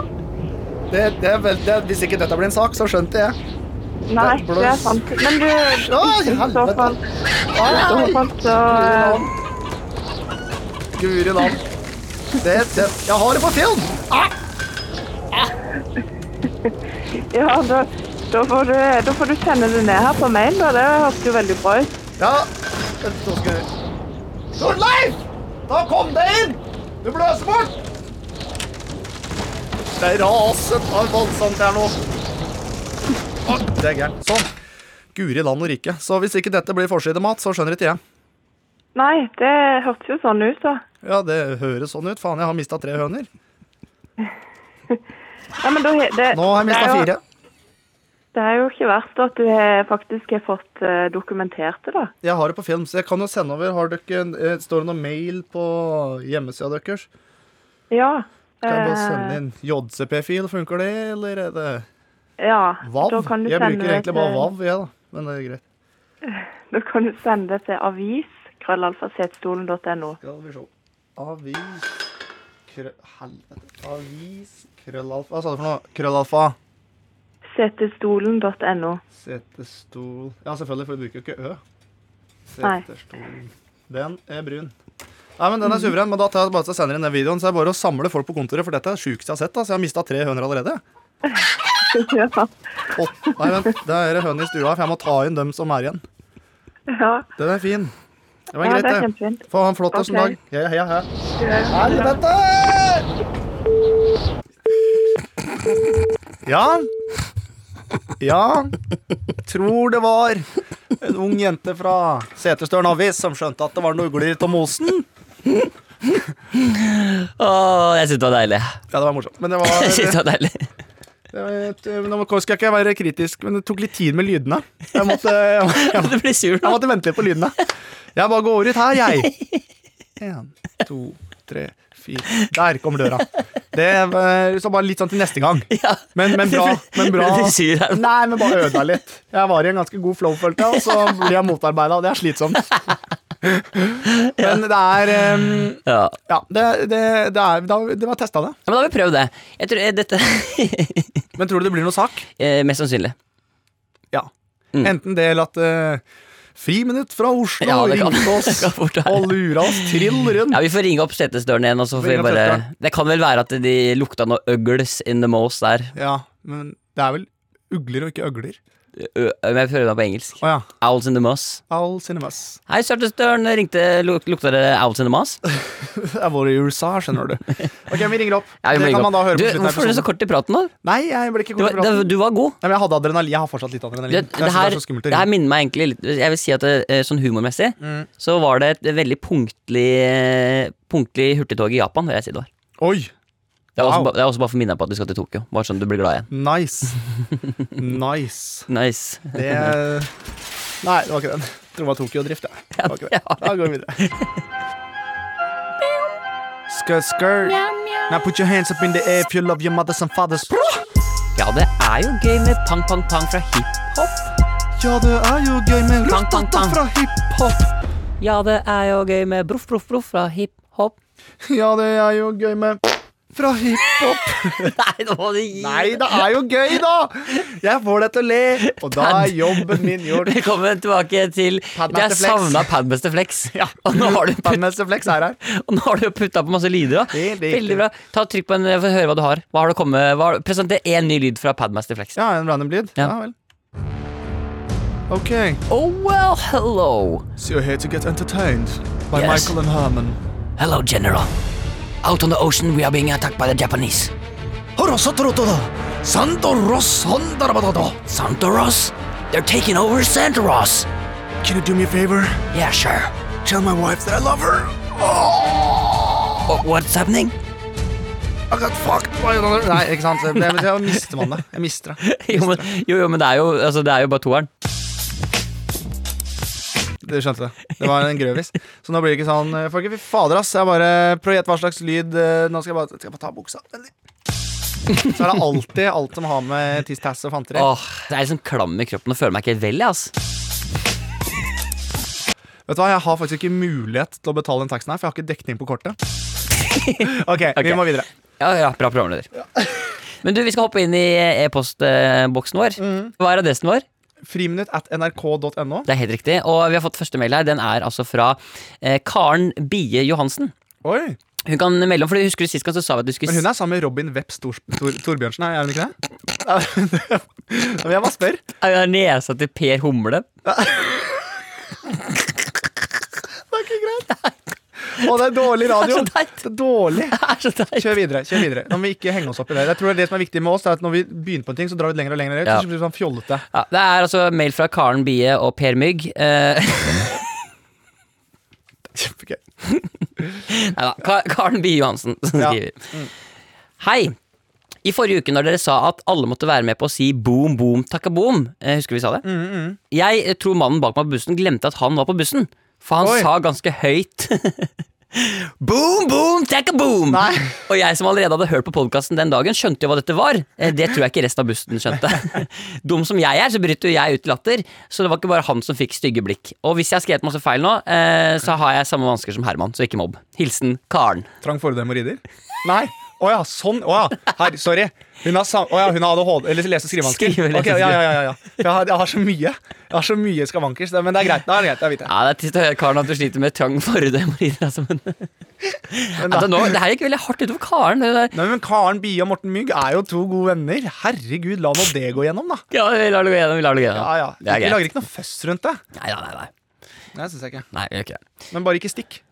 [SPEAKER 2] Det, det er vel, det, hvis ikke dette blir en sak, så skjønte jeg.
[SPEAKER 5] Nei, det er sant. Men du,
[SPEAKER 2] Oi,
[SPEAKER 5] i så
[SPEAKER 2] helvete.
[SPEAKER 5] fall, i så
[SPEAKER 2] Ai!
[SPEAKER 5] fall så eh,
[SPEAKER 2] Guri land. Det, det, jeg har det på film!
[SPEAKER 5] Ja, da, da, får du, da får du sende det ned her på mail, da. Det høres jo veldig bra ut.
[SPEAKER 2] Ja. Vent, nå skal jeg Torleif! Da kom deg inn! Du bløser bort! Det er raset av voldsomt her nå. Å, Det er gærent. Sånn. Guri land og rike. Så hvis ikke dette blir forsidemat, så skjønner ikke jeg.
[SPEAKER 5] Nei, det hørtes jo sånn ut, da.
[SPEAKER 2] Ja, det høres sånn ut. Faen, jeg har mista tre høner.
[SPEAKER 5] Ja, men da he- det,
[SPEAKER 2] Nå har jeg
[SPEAKER 5] det
[SPEAKER 2] mista
[SPEAKER 5] er jo-
[SPEAKER 2] fire.
[SPEAKER 5] Det er jo ikke verst at du har, faktisk har fått eh, dokumentert det, da.
[SPEAKER 2] Jeg har det på film, så jeg kan jo sende over. Har dere, en- eh, står det noe mail på hjemmesida deres?
[SPEAKER 5] Ja.
[SPEAKER 2] Kan jeg bare
[SPEAKER 5] eh,
[SPEAKER 2] sende inn JCP-fil? Funker det, eller er det
[SPEAKER 5] Ja.
[SPEAKER 2] VAV?
[SPEAKER 5] Da kan du
[SPEAKER 2] Jeg
[SPEAKER 5] sende
[SPEAKER 2] bruker
[SPEAKER 5] det
[SPEAKER 2] egentlig bare
[SPEAKER 5] til-
[SPEAKER 2] VAV, jeg, da. Men det er greit.
[SPEAKER 5] Da kan du sende det til avis. Krøllalfasetstolen.no.
[SPEAKER 2] Skal vi se. Avis krø... Helvete. Avis krøllalfa Hva sa du for noe? Krøllalfa.
[SPEAKER 5] Setestolen.no.
[SPEAKER 2] Setestol Ja, selvfølgelig, for vi bruker jo ikke Ø.
[SPEAKER 5] Nei.
[SPEAKER 2] Setestolen. Den er brun. Nei, men Den
[SPEAKER 5] Mhm.
[SPEAKER 2] er suveren, men da tar jeg bare til jeg sender inn den videoen. Så er det bare å samle folk på kontoret, for dette er det sjukeste jeg har sett. da, så Jeg har mista tre høner allerede.
[SPEAKER 5] ja.
[SPEAKER 2] Åt, nei, vent, det er høner i stua, for jeg må ta inn dem som er igjen.
[SPEAKER 5] ja.
[SPEAKER 2] Den er fin. Det var
[SPEAKER 5] Ja,
[SPEAKER 2] greit,
[SPEAKER 5] det er
[SPEAKER 2] det.
[SPEAKER 5] kjempefint.
[SPEAKER 2] Få ha en flott og som dag.
[SPEAKER 5] Ok.
[SPEAKER 2] Heia, heia, heia. Helvete! Ja. Ja. Tror det var en ung jente fra Setestølen Avis som skjønte at det var noen ugler av mosen.
[SPEAKER 3] Åh, jeg synes det var deilig.
[SPEAKER 2] Ja, det var morsomt. Men det var,
[SPEAKER 3] Jeg synes det var deilig.
[SPEAKER 2] det var et- eh, Nå skal jeg ikke være kritisk, men det tok litt tid med lydene. Jeg måtte, jeg, jeg,
[SPEAKER 3] Du blir sur
[SPEAKER 2] Jeg
[SPEAKER 3] nå.
[SPEAKER 2] måtte vente litt på lydene. Jeg bare går ut her, jeg. En, to, tre, fire. Der kom døra. Det var så bare litt sånn til neste gang.
[SPEAKER 3] Ja.
[SPEAKER 2] Men, men bra. Men bra.
[SPEAKER 3] Ble du sur her?
[SPEAKER 2] Nei, men bare ødela litt. Jeg var i en ganske god flow, følte jeg, og så blir jeg motarbeida, og det er slitsomt. Men det er ehm,
[SPEAKER 3] Ja.
[SPEAKER 2] Ja, det, det, det, er, da- det var testa, det.
[SPEAKER 3] Ja, Men da har vi prøvd det. Jeg tror eh, dette
[SPEAKER 2] Men tror du det blir noe sak?
[SPEAKER 3] Eh, Mest sannsynlig.
[SPEAKER 2] Ja. Enten det eller at eh, Friminutt fra Oslo
[SPEAKER 3] Mm. Ja, det kan-
[SPEAKER 2] ringte oss
[SPEAKER 3] kan fort være.
[SPEAKER 2] og lura oss trill rundt.
[SPEAKER 3] Ja, Vi får ringe opp Setesdølen igjen. Og så får
[SPEAKER 2] Ring
[SPEAKER 3] vi
[SPEAKER 2] opp
[SPEAKER 3] bare
[SPEAKER 2] Setesdølen.
[SPEAKER 3] Det kan vel være at de lukta noe ugls in the most der.
[SPEAKER 2] Ja, men det er vel ugler og ikke øgler.
[SPEAKER 3] Ø- Men jeg prøver meg på engelsk.
[SPEAKER 2] Å ja.
[SPEAKER 3] Owls in the moss.
[SPEAKER 2] All cinemas.
[SPEAKER 3] Hei, Setesdølen ringte. luk- Lukta det owls in the moss?
[SPEAKER 2] Det er vår i USA, skjønner du. Ok, vi ringer opp.
[SPEAKER 3] Ja, vi må
[SPEAKER 2] det
[SPEAKER 3] ringe
[SPEAKER 2] kan man da
[SPEAKER 3] opp.
[SPEAKER 2] høre
[SPEAKER 3] du,
[SPEAKER 2] på slutten av
[SPEAKER 3] Hvorfor er du så
[SPEAKER 2] episoden.
[SPEAKER 3] kort i praten nå?
[SPEAKER 2] Nei, jeg ble ikke
[SPEAKER 3] Du,
[SPEAKER 2] god i
[SPEAKER 3] var- det-
[SPEAKER 2] praten.
[SPEAKER 3] du var god.
[SPEAKER 2] Nei, men jeg hadde adrenalin. Jeg har fortsatt litt adrenalin.
[SPEAKER 3] Du,
[SPEAKER 2] Jeg
[SPEAKER 3] det,
[SPEAKER 2] synes
[SPEAKER 3] her,
[SPEAKER 2] det er så skummelt å Mm.
[SPEAKER 3] det her
[SPEAKER 2] ringe.
[SPEAKER 3] minner meg egentlig litt Jeg vil si at det, eh, sånn humormessig så var det et veldig punktlig eh, Punktlig hurtigtog i Japan, vil jeg si det var.
[SPEAKER 2] Oi!
[SPEAKER 3] Det er også,
[SPEAKER 2] Wow.
[SPEAKER 3] ba- det er også bare for å minne deg på at du skal til Tokyo. Bare sånn du blir glad igjen.
[SPEAKER 2] Nice. Nice.
[SPEAKER 3] Nice.
[SPEAKER 2] Det Nei, det var ikke den. Jeg tror det var Tokyo-drift. Ja. Det var ikke det. Da går vi videre. Skur, skur. Now put your hands up in the air if you love your mothers and fathers.
[SPEAKER 3] Ja, det er jo gøy med pang, pang, pang fra hiphop.
[SPEAKER 2] Ja, det er jo gøy med
[SPEAKER 3] Pang, pang,
[SPEAKER 2] rustata
[SPEAKER 3] pang.
[SPEAKER 2] fra hiphop.
[SPEAKER 3] Ja, det er jo gøy med broff, broff, broff fra hiphop.
[SPEAKER 2] Ja, det er jo gøy med fra hiphop.
[SPEAKER 3] Nei, nå må du gi
[SPEAKER 2] Nei, det er jo gøy, da! Jeg får deg til å le, og da er jobben min gjort.
[SPEAKER 3] Velkommen tilbake til
[SPEAKER 2] Padmaster
[SPEAKER 3] Jeg
[SPEAKER 2] Flex.
[SPEAKER 3] savna Padmaster Flex. Og nå har du putt-
[SPEAKER 2] Padmaster Flex er her.
[SPEAKER 3] og nå har du putta på masse lyder. Da.
[SPEAKER 2] Helt riktig.
[SPEAKER 3] Veldig bra. Ta og Trykk på en for å høre hva du har. Hva har du kommet, hva har, presenter én ny lyd fra Padmaster Flex.
[SPEAKER 2] Ja, en random lyd.
[SPEAKER 3] Ja.
[SPEAKER 2] Ja vel. Ok.
[SPEAKER 3] Oh well, hello.
[SPEAKER 2] So you're here to get entertained by
[SPEAKER 3] Yes.
[SPEAKER 2] Michael and Herman.
[SPEAKER 3] Hello, General. Out on the ocean we are being attacked by the Japanese. Santa Ross? They're taking over Santa Ross.
[SPEAKER 2] Can you do me a favor?
[SPEAKER 3] Yeah, sure.
[SPEAKER 2] Tell my wife that I love her.
[SPEAKER 3] Wha- Oh. What's happening?
[SPEAKER 2] I got fucked by another Nei, ikke sant. Det, det, jeg mister man det. Jeg mister det.
[SPEAKER 3] Jo, men, jo, jo, men det, er jo, altså, det er jo bare toeren.
[SPEAKER 2] Du skjønte det. Det var en grøvis. Så nå blir det ikke sånn eh, Folket, fy fader, ass. Jeg bare Prøv å gjette hva slags lyd eh, Nå skal jeg bare, skal jeg bare ta buksa. Vent litt. Så er det alltid alt som har med tiss, tass og fanteri.
[SPEAKER 3] Åh, det er liksom klam i kroppen og føler meg ikke helt vel. jeg, ass.
[SPEAKER 2] Vet du hva, Jeg har faktisk ikke mulighet til å betale den taksten her, for jeg har ikke dekning på kortet. ok,
[SPEAKER 3] Ok.
[SPEAKER 2] vi må videre.
[SPEAKER 3] Ja, ja, Bra programleder. Men du, vi skal hoppe inn i eh, e-postboksen vår.
[SPEAKER 2] Mm.
[SPEAKER 3] Hva er adressen vår?
[SPEAKER 2] Friminutt at nrk.no.
[SPEAKER 3] Det er helt riktig. Og vi har fått første mail her. Den er altså fra eh, Karen Bie Johansen.
[SPEAKER 2] Oi,
[SPEAKER 3] Hun kan melde om, for Husker du sist gang så sa vi at du skulle
[SPEAKER 2] Men hun er sammen med Robin Wepp Stor Tor Torbjørnsen, er hun ikke det? Ja, men jeg bare spør.
[SPEAKER 3] Er hun nesa til Per Humle?
[SPEAKER 2] Det er ikke greit. Å, det er dårlig radio.
[SPEAKER 3] Det er så teit.
[SPEAKER 2] Det er dårlig.
[SPEAKER 3] Det er så teit.
[SPEAKER 2] Kjør videre. kjør videre Nå må vi ikke henge oss opp i det. Jeg tror Det er det som er viktig med oss, det er at når vi begynner på en ting, så drar vi det lenger og lenger ut.
[SPEAKER 3] Ja.
[SPEAKER 2] Så blir det sånn fjollete.
[SPEAKER 3] Ja, det er altså mail fra Karen Bie og Per Mygg. Eh,
[SPEAKER 2] Kjempegøy.
[SPEAKER 3] nei da, Ka- Karen Bie Johansen som
[SPEAKER 2] Ja. Mm.
[SPEAKER 3] skriver. Hei! I forrige uke når dere sa at alle måtte være med på å si boom, boom, takka boom eh, Husker du vi sa det?
[SPEAKER 2] Mm,
[SPEAKER 3] Jeg eh, tror mannen bak meg på bussen glemte at han var på bussen. For han
[SPEAKER 2] Oi.
[SPEAKER 3] sa ganske høyt Boom, boom, takka boom!
[SPEAKER 2] Nei.
[SPEAKER 3] Og jeg som allerede hadde hørt på podkasten den dagen, skjønte jo hva dette var. Eh, Det tror jeg ikke resten av bussen skjønte. Dum som jeg er, så bryter jo jeg ut i latter, så det var ikke bare han som fikk stygge blikk. Og hvis jeg har skrevet masse feil nå, eh, så har jeg samme vansker som Herman, så ikke mobb. Hilsen Karen.
[SPEAKER 2] Trang forhold til hemoroider? Nei. Å ja, sånn. Å ja. Her, sorry. Hun har, sam å ja, hun har ADHD Eller lese- og skrivevansker.
[SPEAKER 3] Skrive- lese-
[SPEAKER 2] Ok, ja, ja, ja, ja. Jeg, har, jeg har så mye Jeg har så mye skavanker, så det- men det er greit. Da er det greit, da vet jeg.
[SPEAKER 3] Ja, Det er trist å høre Karen at du sliter med trang forhudhemoroider. Altså, men...
[SPEAKER 2] Men,
[SPEAKER 3] altså,
[SPEAKER 2] da,
[SPEAKER 3] nå- det her gikk veldig hardt utover Karen. Det der.
[SPEAKER 2] nei, men Karen Bie og Morten Mygg er jo to gode venner. Herregud, la nå det gå gjennom, da.
[SPEAKER 3] Ja, vi lar det gå gjennom. vi lar det gå gjennom.
[SPEAKER 2] Ja, ja.
[SPEAKER 3] Det er
[SPEAKER 2] Vi lager
[SPEAKER 3] greit.
[SPEAKER 2] ikke noe føss rundt det.
[SPEAKER 3] Nei, nei, nei, nei.
[SPEAKER 2] Nei, synes jeg ikke.
[SPEAKER 3] nei, vi gjør ikke det.
[SPEAKER 2] Men bare ikke stikk.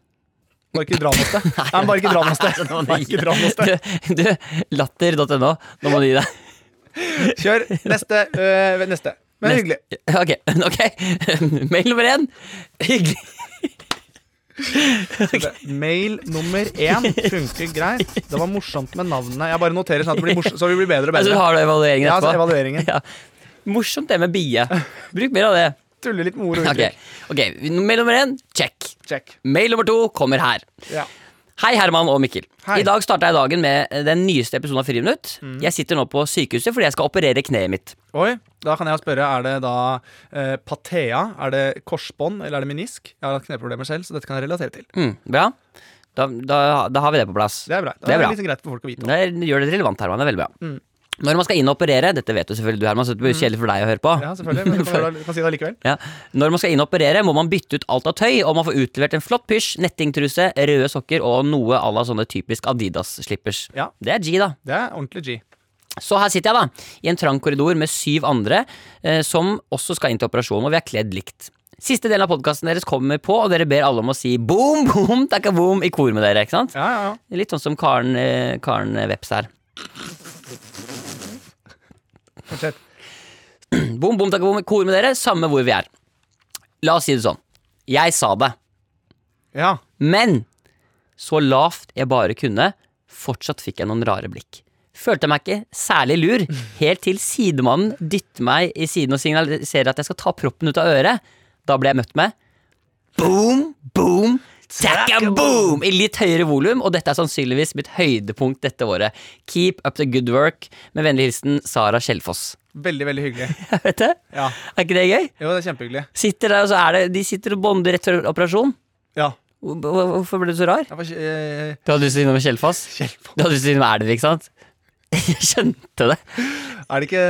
[SPEAKER 2] Bare ikke dra noe sted. Nei, men bare ikke dra noe sted.
[SPEAKER 3] Nå må
[SPEAKER 2] Bare
[SPEAKER 3] du gi
[SPEAKER 2] ikke dra noe sted.
[SPEAKER 3] deg. Du, du latter.no. Nå må du gi deg.
[SPEAKER 2] Kjør neste. øh, neste. Men
[SPEAKER 3] Neste.
[SPEAKER 2] hyggelig.
[SPEAKER 3] Ok, ok Mail nummer én Hyggelig
[SPEAKER 2] Mail nummer én funker greit. Det var morsomt med navnene. Jeg bare noterer sånn at det blir morsomt, så vi blir bedre og
[SPEAKER 3] Altså, du
[SPEAKER 2] bedre.
[SPEAKER 3] har du evalueringen
[SPEAKER 2] Ja, altså,
[SPEAKER 3] etterpå?
[SPEAKER 2] evalueringen.
[SPEAKER 3] Ja. Morsomt det med bie Bruk mer av det
[SPEAKER 2] Tuller litt med ord og
[SPEAKER 3] Ok,
[SPEAKER 2] uttrykk.
[SPEAKER 3] ok, mail nummer én Check
[SPEAKER 2] Check.
[SPEAKER 3] Mail nummer to kommer her
[SPEAKER 2] Ja.
[SPEAKER 3] Hei Herman og Mikkel
[SPEAKER 2] Hei. Mm.
[SPEAKER 3] I dag startet jeg dagen med eh, den nyeste episoden av Friminutt Jeg sitter nå på sykehuset fordi jeg skal operere kneet mitt
[SPEAKER 2] Oi, da kan jeg spørre, er det da eh, patea? Er det korsbånd, eller er det menisk? Jeg har hatt kneproblemer selv, så dette kan jeg relatere til.
[SPEAKER 3] mm, Bra da, da, da har vi det på plass
[SPEAKER 2] Det er liksom- Mm. bra. Da
[SPEAKER 3] Det er bra
[SPEAKER 2] litt greit for folk å vite.
[SPEAKER 3] Det er- gjør det relevant, Herman. Det er veldig bra. Når man skal inn og operere Dette vet du selvfølgelig du, Herman, så det blir kjedelig for deg å høre på.
[SPEAKER 2] Mm. Ja, selvfølgelig. Men du kan, kan si det allikevel.
[SPEAKER 3] Ja. Når man skal inn og operere, må man bytte ut alt av tøy, og man får utlevert en flott pysj, nettingtruse, røde sokker og noe à la sånne typisk Adidas-slippers.
[SPEAKER 2] Ja.
[SPEAKER 3] Det er G, da.
[SPEAKER 2] Det er ordentlig G.
[SPEAKER 3] Så her sitter jeg, da, i en trang korridor med syv andre eh, som også skal inn til operasjon, og vi er kledd likt. Siste delen av podkasten deres kommer på, og dere ber alle om å si boom, boom, takka boom i kor med dere, ikke sant?
[SPEAKER 2] Ja, ja, ja.
[SPEAKER 3] Litt sånn som Karen, eh, Karen Veps her.
[SPEAKER 2] Fortsett.
[SPEAKER 3] Bom, bom, takk, bom, kor med dere, samme hvor vi er. La oss si det sånn. Jeg sa det,
[SPEAKER 2] Ja.
[SPEAKER 3] men så lavt jeg bare kunne, Fortsatt fikk jeg noen rare blikk. Følte meg ikke særlig lur, helt til sidemannen dytter meg i siden og signaliserer at jeg skal ta proppen ut av øret. Da ble jeg møtt med boom, boom, takka-boom i litt høyere volum, og dette er sannsynligvis mitt høydepunkt dette året. Keep up the good work. Med vennlig hilsen Sara Kjellfoss.
[SPEAKER 2] Veldig, veldig hyggelig.
[SPEAKER 3] Jeg vet det.
[SPEAKER 2] Ja.
[SPEAKER 3] Er ikke det gøy?
[SPEAKER 2] Jo, det er kjempehyggelig.
[SPEAKER 3] Sitter der, og så er det, De sitter og bonder rett før operasjon.
[SPEAKER 2] Ja.
[SPEAKER 3] Hvor- hvor- Hvorfor ble du så rar?
[SPEAKER 2] Jeg var, eh,
[SPEAKER 3] Du hadde lyst til å si noe med Kjellfoss? Du hadde lyst til å si noe med Elvik, ikke sant? Jeg skjønte det.
[SPEAKER 2] er det ikke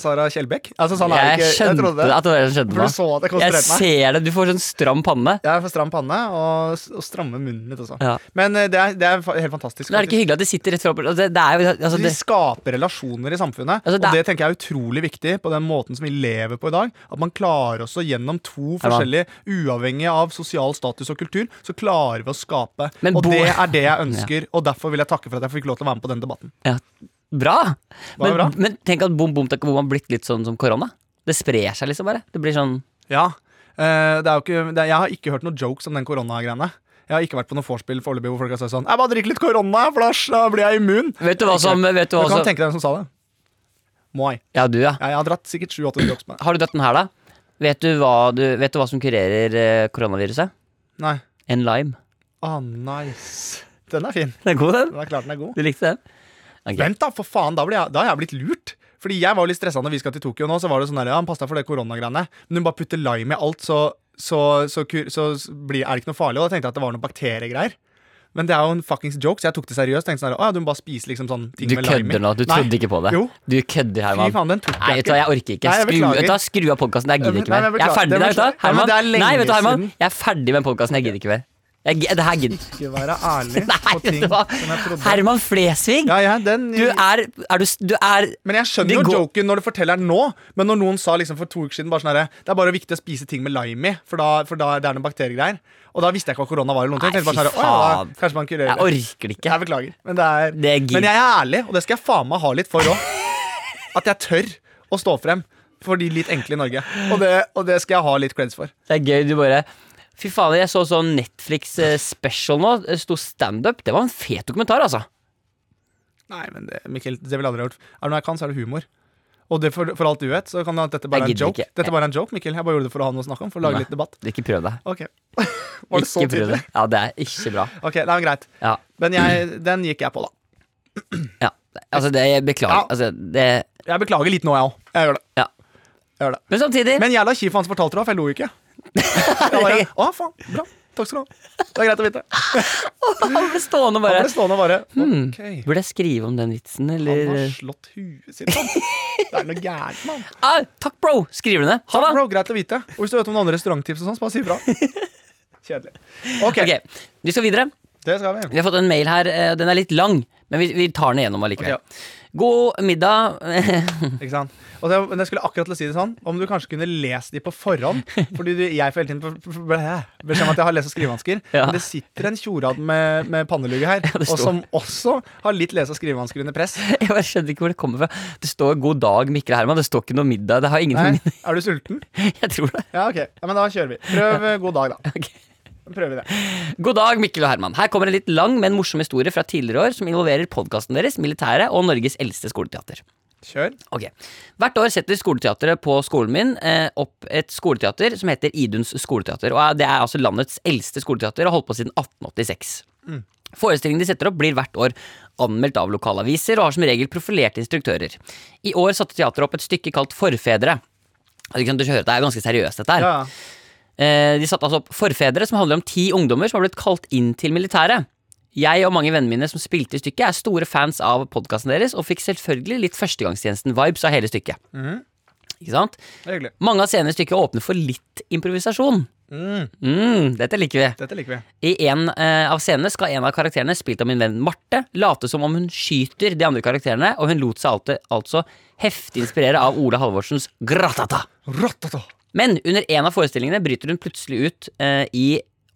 [SPEAKER 2] Sara Kjellbekk? Altså, sånn er det
[SPEAKER 3] Jeg
[SPEAKER 2] ikke.
[SPEAKER 3] skjønte
[SPEAKER 2] trodde
[SPEAKER 3] det. At det var jeg som skjønte
[SPEAKER 2] For du
[SPEAKER 3] meg.
[SPEAKER 2] så at jeg
[SPEAKER 3] Jeg
[SPEAKER 2] konsentrerte meg.
[SPEAKER 3] ser det. Du får sånn stram panne.
[SPEAKER 2] Jeg har for stram panne og, s- og stramme munnen litt også.
[SPEAKER 3] Ja.
[SPEAKER 2] Men eh, det er, det er fa- helt fantastisk.
[SPEAKER 3] Men er det ikke hyggelig at de sitter rett fra operasjon? Det, det er jo altså,
[SPEAKER 2] Vi
[SPEAKER 3] det,
[SPEAKER 2] skaper relasjoner i samfunnet,
[SPEAKER 3] Altså, det
[SPEAKER 2] og
[SPEAKER 3] er-
[SPEAKER 2] det tenker jeg er utrolig viktig på den måten som vi lever på i dag. At man klarer også gjennom to forskjellige, uavhengig av sosial status og kultur, så klarer vi å skape.
[SPEAKER 3] Men
[SPEAKER 2] og
[SPEAKER 3] bo-
[SPEAKER 2] det er det jeg ønsker, og derfor vil jeg takke for at jeg fikk lov til å være med på den debatten.
[SPEAKER 3] ja. Bra!
[SPEAKER 2] Var
[SPEAKER 3] Men,
[SPEAKER 2] det bra?
[SPEAKER 3] men tenk at bom, bom, takk, bom har blitt litt sånn som korona. Det sprer seg liksom bare. Det blir sånn
[SPEAKER 2] Ja, eh, det er jo ikke, det, Jeg har ikke hørt noen jokes om den koronagreiene. Jeg har ikke vært på noe vorspiel foreløpig hvor folk har sagt sånn Jeg bare drikker litt korona, for da s- da blir jeg immun.
[SPEAKER 3] Vet du hva som, vet du
[SPEAKER 2] Du
[SPEAKER 3] hva
[SPEAKER 2] kan
[SPEAKER 3] som
[SPEAKER 2] tenke deg hvem som sa det. Moi.
[SPEAKER 3] Ja, du, ja.
[SPEAKER 2] Ja, jeg har dratt sikkert 7-8 jokes med
[SPEAKER 3] Har du dødd den her, da? Vet du hva, du, vet du hva som kurerer eh, koronaviruset?
[SPEAKER 2] Nei.
[SPEAKER 3] En lime.
[SPEAKER 2] Ah, nice. Den er fin.
[SPEAKER 3] Den er god, den.
[SPEAKER 2] Den er klart den er god.
[SPEAKER 3] Du likte den?
[SPEAKER 2] Vent, da, for faen. Da, blir jeg, da har jeg blitt lurt. Fordi jeg var jo litt stressa når vi skal til Tokyo nå. Så var det sånn der, ja, han passet for det koronagreiene. Men hun bare putter lime i alt, så, så, så, kur- så, blir, er det ikke noe farlig. Og da tenkte jeg at det var noen bakteriegreier. Men det er jo en fuckings joke, så jeg tok det seriøst. Tenkte sånn, her, å ja, Du må bare spise liksom sånn ting
[SPEAKER 3] Du
[SPEAKER 2] med lime i».
[SPEAKER 3] kødder nå. Du
[SPEAKER 2] Nei.
[SPEAKER 3] trodde ikke på det.
[SPEAKER 2] Jo.
[SPEAKER 3] Du kødder, Herman.
[SPEAKER 2] Fy faen, den tok jeg
[SPEAKER 3] Nei, vet du hva,
[SPEAKER 2] ikke.
[SPEAKER 3] jeg orker ikke.
[SPEAKER 2] Nei, jeg
[SPEAKER 3] skru,
[SPEAKER 2] beklager.
[SPEAKER 3] vet du, hva, skru av podkasten. Jeg
[SPEAKER 2] Ja, men-
[SPEAKER 3] gidder ikke
[SPEAKER 2] nei,
[SPEAKER 3] mer.
[SPEAKER 2] men
[SPEAKER 3] Jeg er
[SPEAKER 2] beklager.
[SPEAKER 3] ferdig
[SPEAKER 2] Det
[SPEAKER 3] der, vet du.
[SPEAKER 2] beklager.
[SPEAKER 3] hva,
[SPEAKER 2] Ja, men
[SPEAKER 3] Herman.
[SPEAKER 2] det er lenge
[SPEAKER 3] Nei, vet du, hva, Herman.
[SPEAKER 2] siden.
[SPEAKER 3] Jeg er ferdig med podkasten. Jeg gidder ikke mer. Jeg, gi- det her gidder
[SPEAKER 2] Ikke være ærlig
[SPEAKER 3] Nei,
[SPEAKER 2] på
[SPEAKER 3] vet
[SPEAKER 2] ting
[SPEAKER 3] du hva.
[SPEAKER 2] som jeg trodde
[SPEAKER 3] Herman Flesvig!
[SPEAKER 2] ja, ja, den,
[SPEAKER 3] Du er, er du, s- du er
[SPEAKER 2] Men jeg skjønner
[SPEAKER 3] Det
[SPEAKER 2] jo
[SPEAKER 3] går-
[SPEAKER 2] joken når du forteller den nå, men når noen sa liksom for to uker siden bare sånn herre, Det er bare viktig å spise ting med lime i, for da, for da det er noen bakteriegreier. Og da visste jeg ikke hva korona var. eller noen ting.
[SPEAKER 3] Nei,
[SPEAKER 2] Jeg tenkte bare sånn,
[SPEAKER 3] fy
[SPEAKER 2] herre, «Å ja,
[SPEAKER 3] faen.
[SPEAKER 2] da, kanskje man kurerer
[SPEAKER 3] Jeg
[SPEAKER 2] det».
[SPEAKER 3] orker det ikke.
[SPEAKER 2] Jeg beklager. Men, det er,
[SPEAKER 3] Det er gitt.
[SPEAKER 2] men jeg er ærlig, og det skal jeg faen meg ha litt for òg. At jeg tør å stå frem for de litt enkle i Norge. Og det, og det skal jeg ha litt creds for.
[SPEAKER 3] Det er gøy. Du bare Fy faen, jeg så sånn Netflix-special nå. Det Sto standup. Det var en fet dokumentar, altså.
[SPEAKER 2] Nei, men det, Mikkel, det ville jeg aldri ha gjort. Er det noe jeg kan, så er det humor. Og det for, for alt du vet, så kan det, at dette bare er
[SPEAKER 3] Jeg
[SPEAKER 2] en
[SPEAKER 3] gidder
[SPEAKER 2] joke.
[SPEAKER 3] ikke.
[SPEAKER 2] Dette bare er en joke, Mikkel. Jeg bare gjorde det for å ha noe å snakke om. For å lage
[SPEAKER 3] Nei.
[SPEAKER 2] litt debatt.
[SPEAKER 3] Ikke prøv deg.
[SPEAKER 2] Ok. Var det så
[SPEAKER 3] Ikke prøv
[SPEAKER 2] tydelig?
[SPEAKER 3] deg. Ja, det er ikke bra.
[SPEAKER 2] Ok, det er greit.
[SPEAKER 3] Ja,
[SPEAKER 2] Men jeg, den gikk jeg på, da.
[SPEAKER 3] ja. Altså, det jeg
[SPEAKER 2] Ja.
[SPEAKER 3] Beklager. Altså, det
[SPEAKER 2] Jeg beklager litt nå, jeg òg. Jeg gjør det.
[SPEAKER 3] Ja.
[SPEAKER 2] Jeg gjør det.
[SPEAKER 3] Men samtidig
[SPEAKER 2] Men jævla kjip han som fortalte det, for jeg lo ikke. Jeg bare, Å, faen. Bra. Takk skal du ha. Det er greit å vite.
[SPEAKER 3] Han ble stående og
[SPEAKER 2] Han
[SPEAKER 3] bare Hmm.
[SPEAKER 2] ble stående og bare OK.
[SPEAKER 3] Burde jeg skrive om den vitsen,
[SPEAKER 2] Han har
[SPEAKER 3] eller
[SPEAKER 2] slått huet sitt, mann. Det er noe gærent, mann. Sånn,
[SPEAKER 3] ah, Takk, bro! Skriver du det? Ha det!
[SPEAKER 2] Bro, greit å vite. Og hvis du vet om noen andre restauranttips og sånn, så bare si ifra. Kjedelig.
[SPEAKER 3] Ok,
[SPEAKER 2] OK,
[SPEAKER 3] Vi skal videre.
[SPEAKER 2] det skal vi.
[SPEAKER 3] Vi har fått en mail her. eh, Den er litt lang, men vi, vi tar den igjennom allikevel.
[SPEAKER 2] Ok,
[SPEAKER 3] God middag.
[SPEAKER 2] Ikke sant? Og så, men jeg skulle akkurat til å si det sånn Om du kanskje kunne lest de på forhånd Fordi du, jeg får hele tiden be- be- be- beskjed om at jeg har lese- og skrivevansker
[SPEAKER 3] Ja.
[SPEAKER 2] Men det sitter en tjorad med, med pannelugge her
[SPEAKER 3] det
[SPEAKER 2] Og
[SPEAKER 3] står.
[SPEAKER 2] som også har litt lese- og skrivevansker under press
[SPEAKER 3] Jeg bare skjønner ikke hvor det kommer fra. Det står 'God dag, Mikkel og Herman'. Det står ikke noe middag. Det har ingen
[SPEAKER 2] Nei,
[SPEAKER 3] noe middag.
[SPEAKER 2] er du sulten?
[SPEAKER 3] Jeg tror det.
[SPEAKER 2] Ja, ok, ja, men da kjører vi Prøv eh, god dag da
[SPEAKER 3] Ok.
[SPEAKER 2] Prøver vi det
[SPEAKER 3] God dag, Mikkel og Herman. Her kommer en litt lang, men morsom historie fra tidligere år som involverer podkasten deres, militæret og Norges eldste skoleteater.
[SPEAKER 2] Kjør
[SPEAKER 3] Ok. Hvert år setter skoleteatret på skolen min eh, opp et skoleteater som heter Iduns skoleteater. Og Det er altså landets eldste skoleteater og har holdt på siden 1886. Forestillingen de setter opp, blir hvert år anmeldt av lokalaviser og har som regel profilerte instruktører. I år satte teatret opp et stykke kalt Forfedre. Altså, ikke sant, Du hører at Det er ganske seriøst, dette her.
[SPEAKER 2] ja.
[SPEAKER 3] Eh, De satte altså opp Forfedre, som handler om ti ungdommer som har blitt kalt inn til militæret. Jeg og mange vennene mine som spilte i stykket, er store fans av podkasten deres, og fikk selvfølgelig litt førstegangstjenesten-vibes av hele stykket. Ikke sant?
[SPEAKER 2] det er hyggelig
[SPEAKER 3] Mange av scenene i stykket åpner for litt improvisasjon. Mm, dette liker vi.
[SPEAKER 2] Dette liker vi
[SPEAKER 3] I en eh, av scenene skal en av karakterene, spilt av min venn Marte, late som om hun skyter de andre karakterene, og hun lot seg alltid, altså heftig inspirere av Ola Halvorsens Gratata.
[SPEAKER 2] Rottata
[SPEAKER 3] Men under en av forestillingene bryter hun plutselig ut eh, i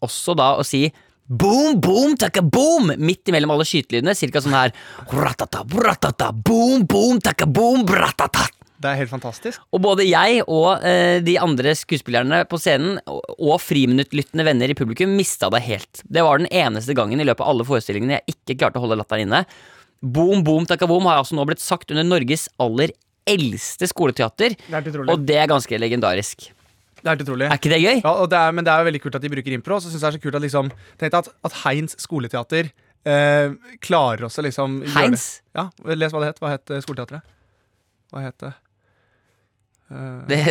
[SPEAKER 3] også da å si Boom, boom, takka boom! Midt imellom alle skytelydene, cirka sånn her. Ratata, ratata, boom, boom, takka boom, ratata.
[SPEAKER 2] Det er helt fantastisk.
[SPEAKER 3] Og både jeg og eh, de andre skuespillerne på scenen og, og friminuttlyttende venner i publikum mista det helt. Det var den eneste gangen i løpet av alle forestillingene jeg ikke klarte å holde latteren inne. Boom boom takaboom har altså nå blitt sagt under Norges aller eldste skoleteater.
[SPEAKER 2] Det er helt utrolig.
[SPEAKER 3] Og det er ganske legendarisk.
[SPEAKER 2] Det er helt utrolig.
[SPEAKER 3] Er ikke det gøy?
[SPEAKER 2] Ja, og det er, men det er jo veldig kult at de bruker impro. Og så synes jeg det er så kult at liksom Tenk deg at, at Heins skoleteater eh, klarer også liksom gjøre det.
[SPEAKER 3] Heins?
[SPEAKER 2] Ja, Les hva det het. Hva het eh, skoleteatret? Hva het det?
[SPEAKER 3] Det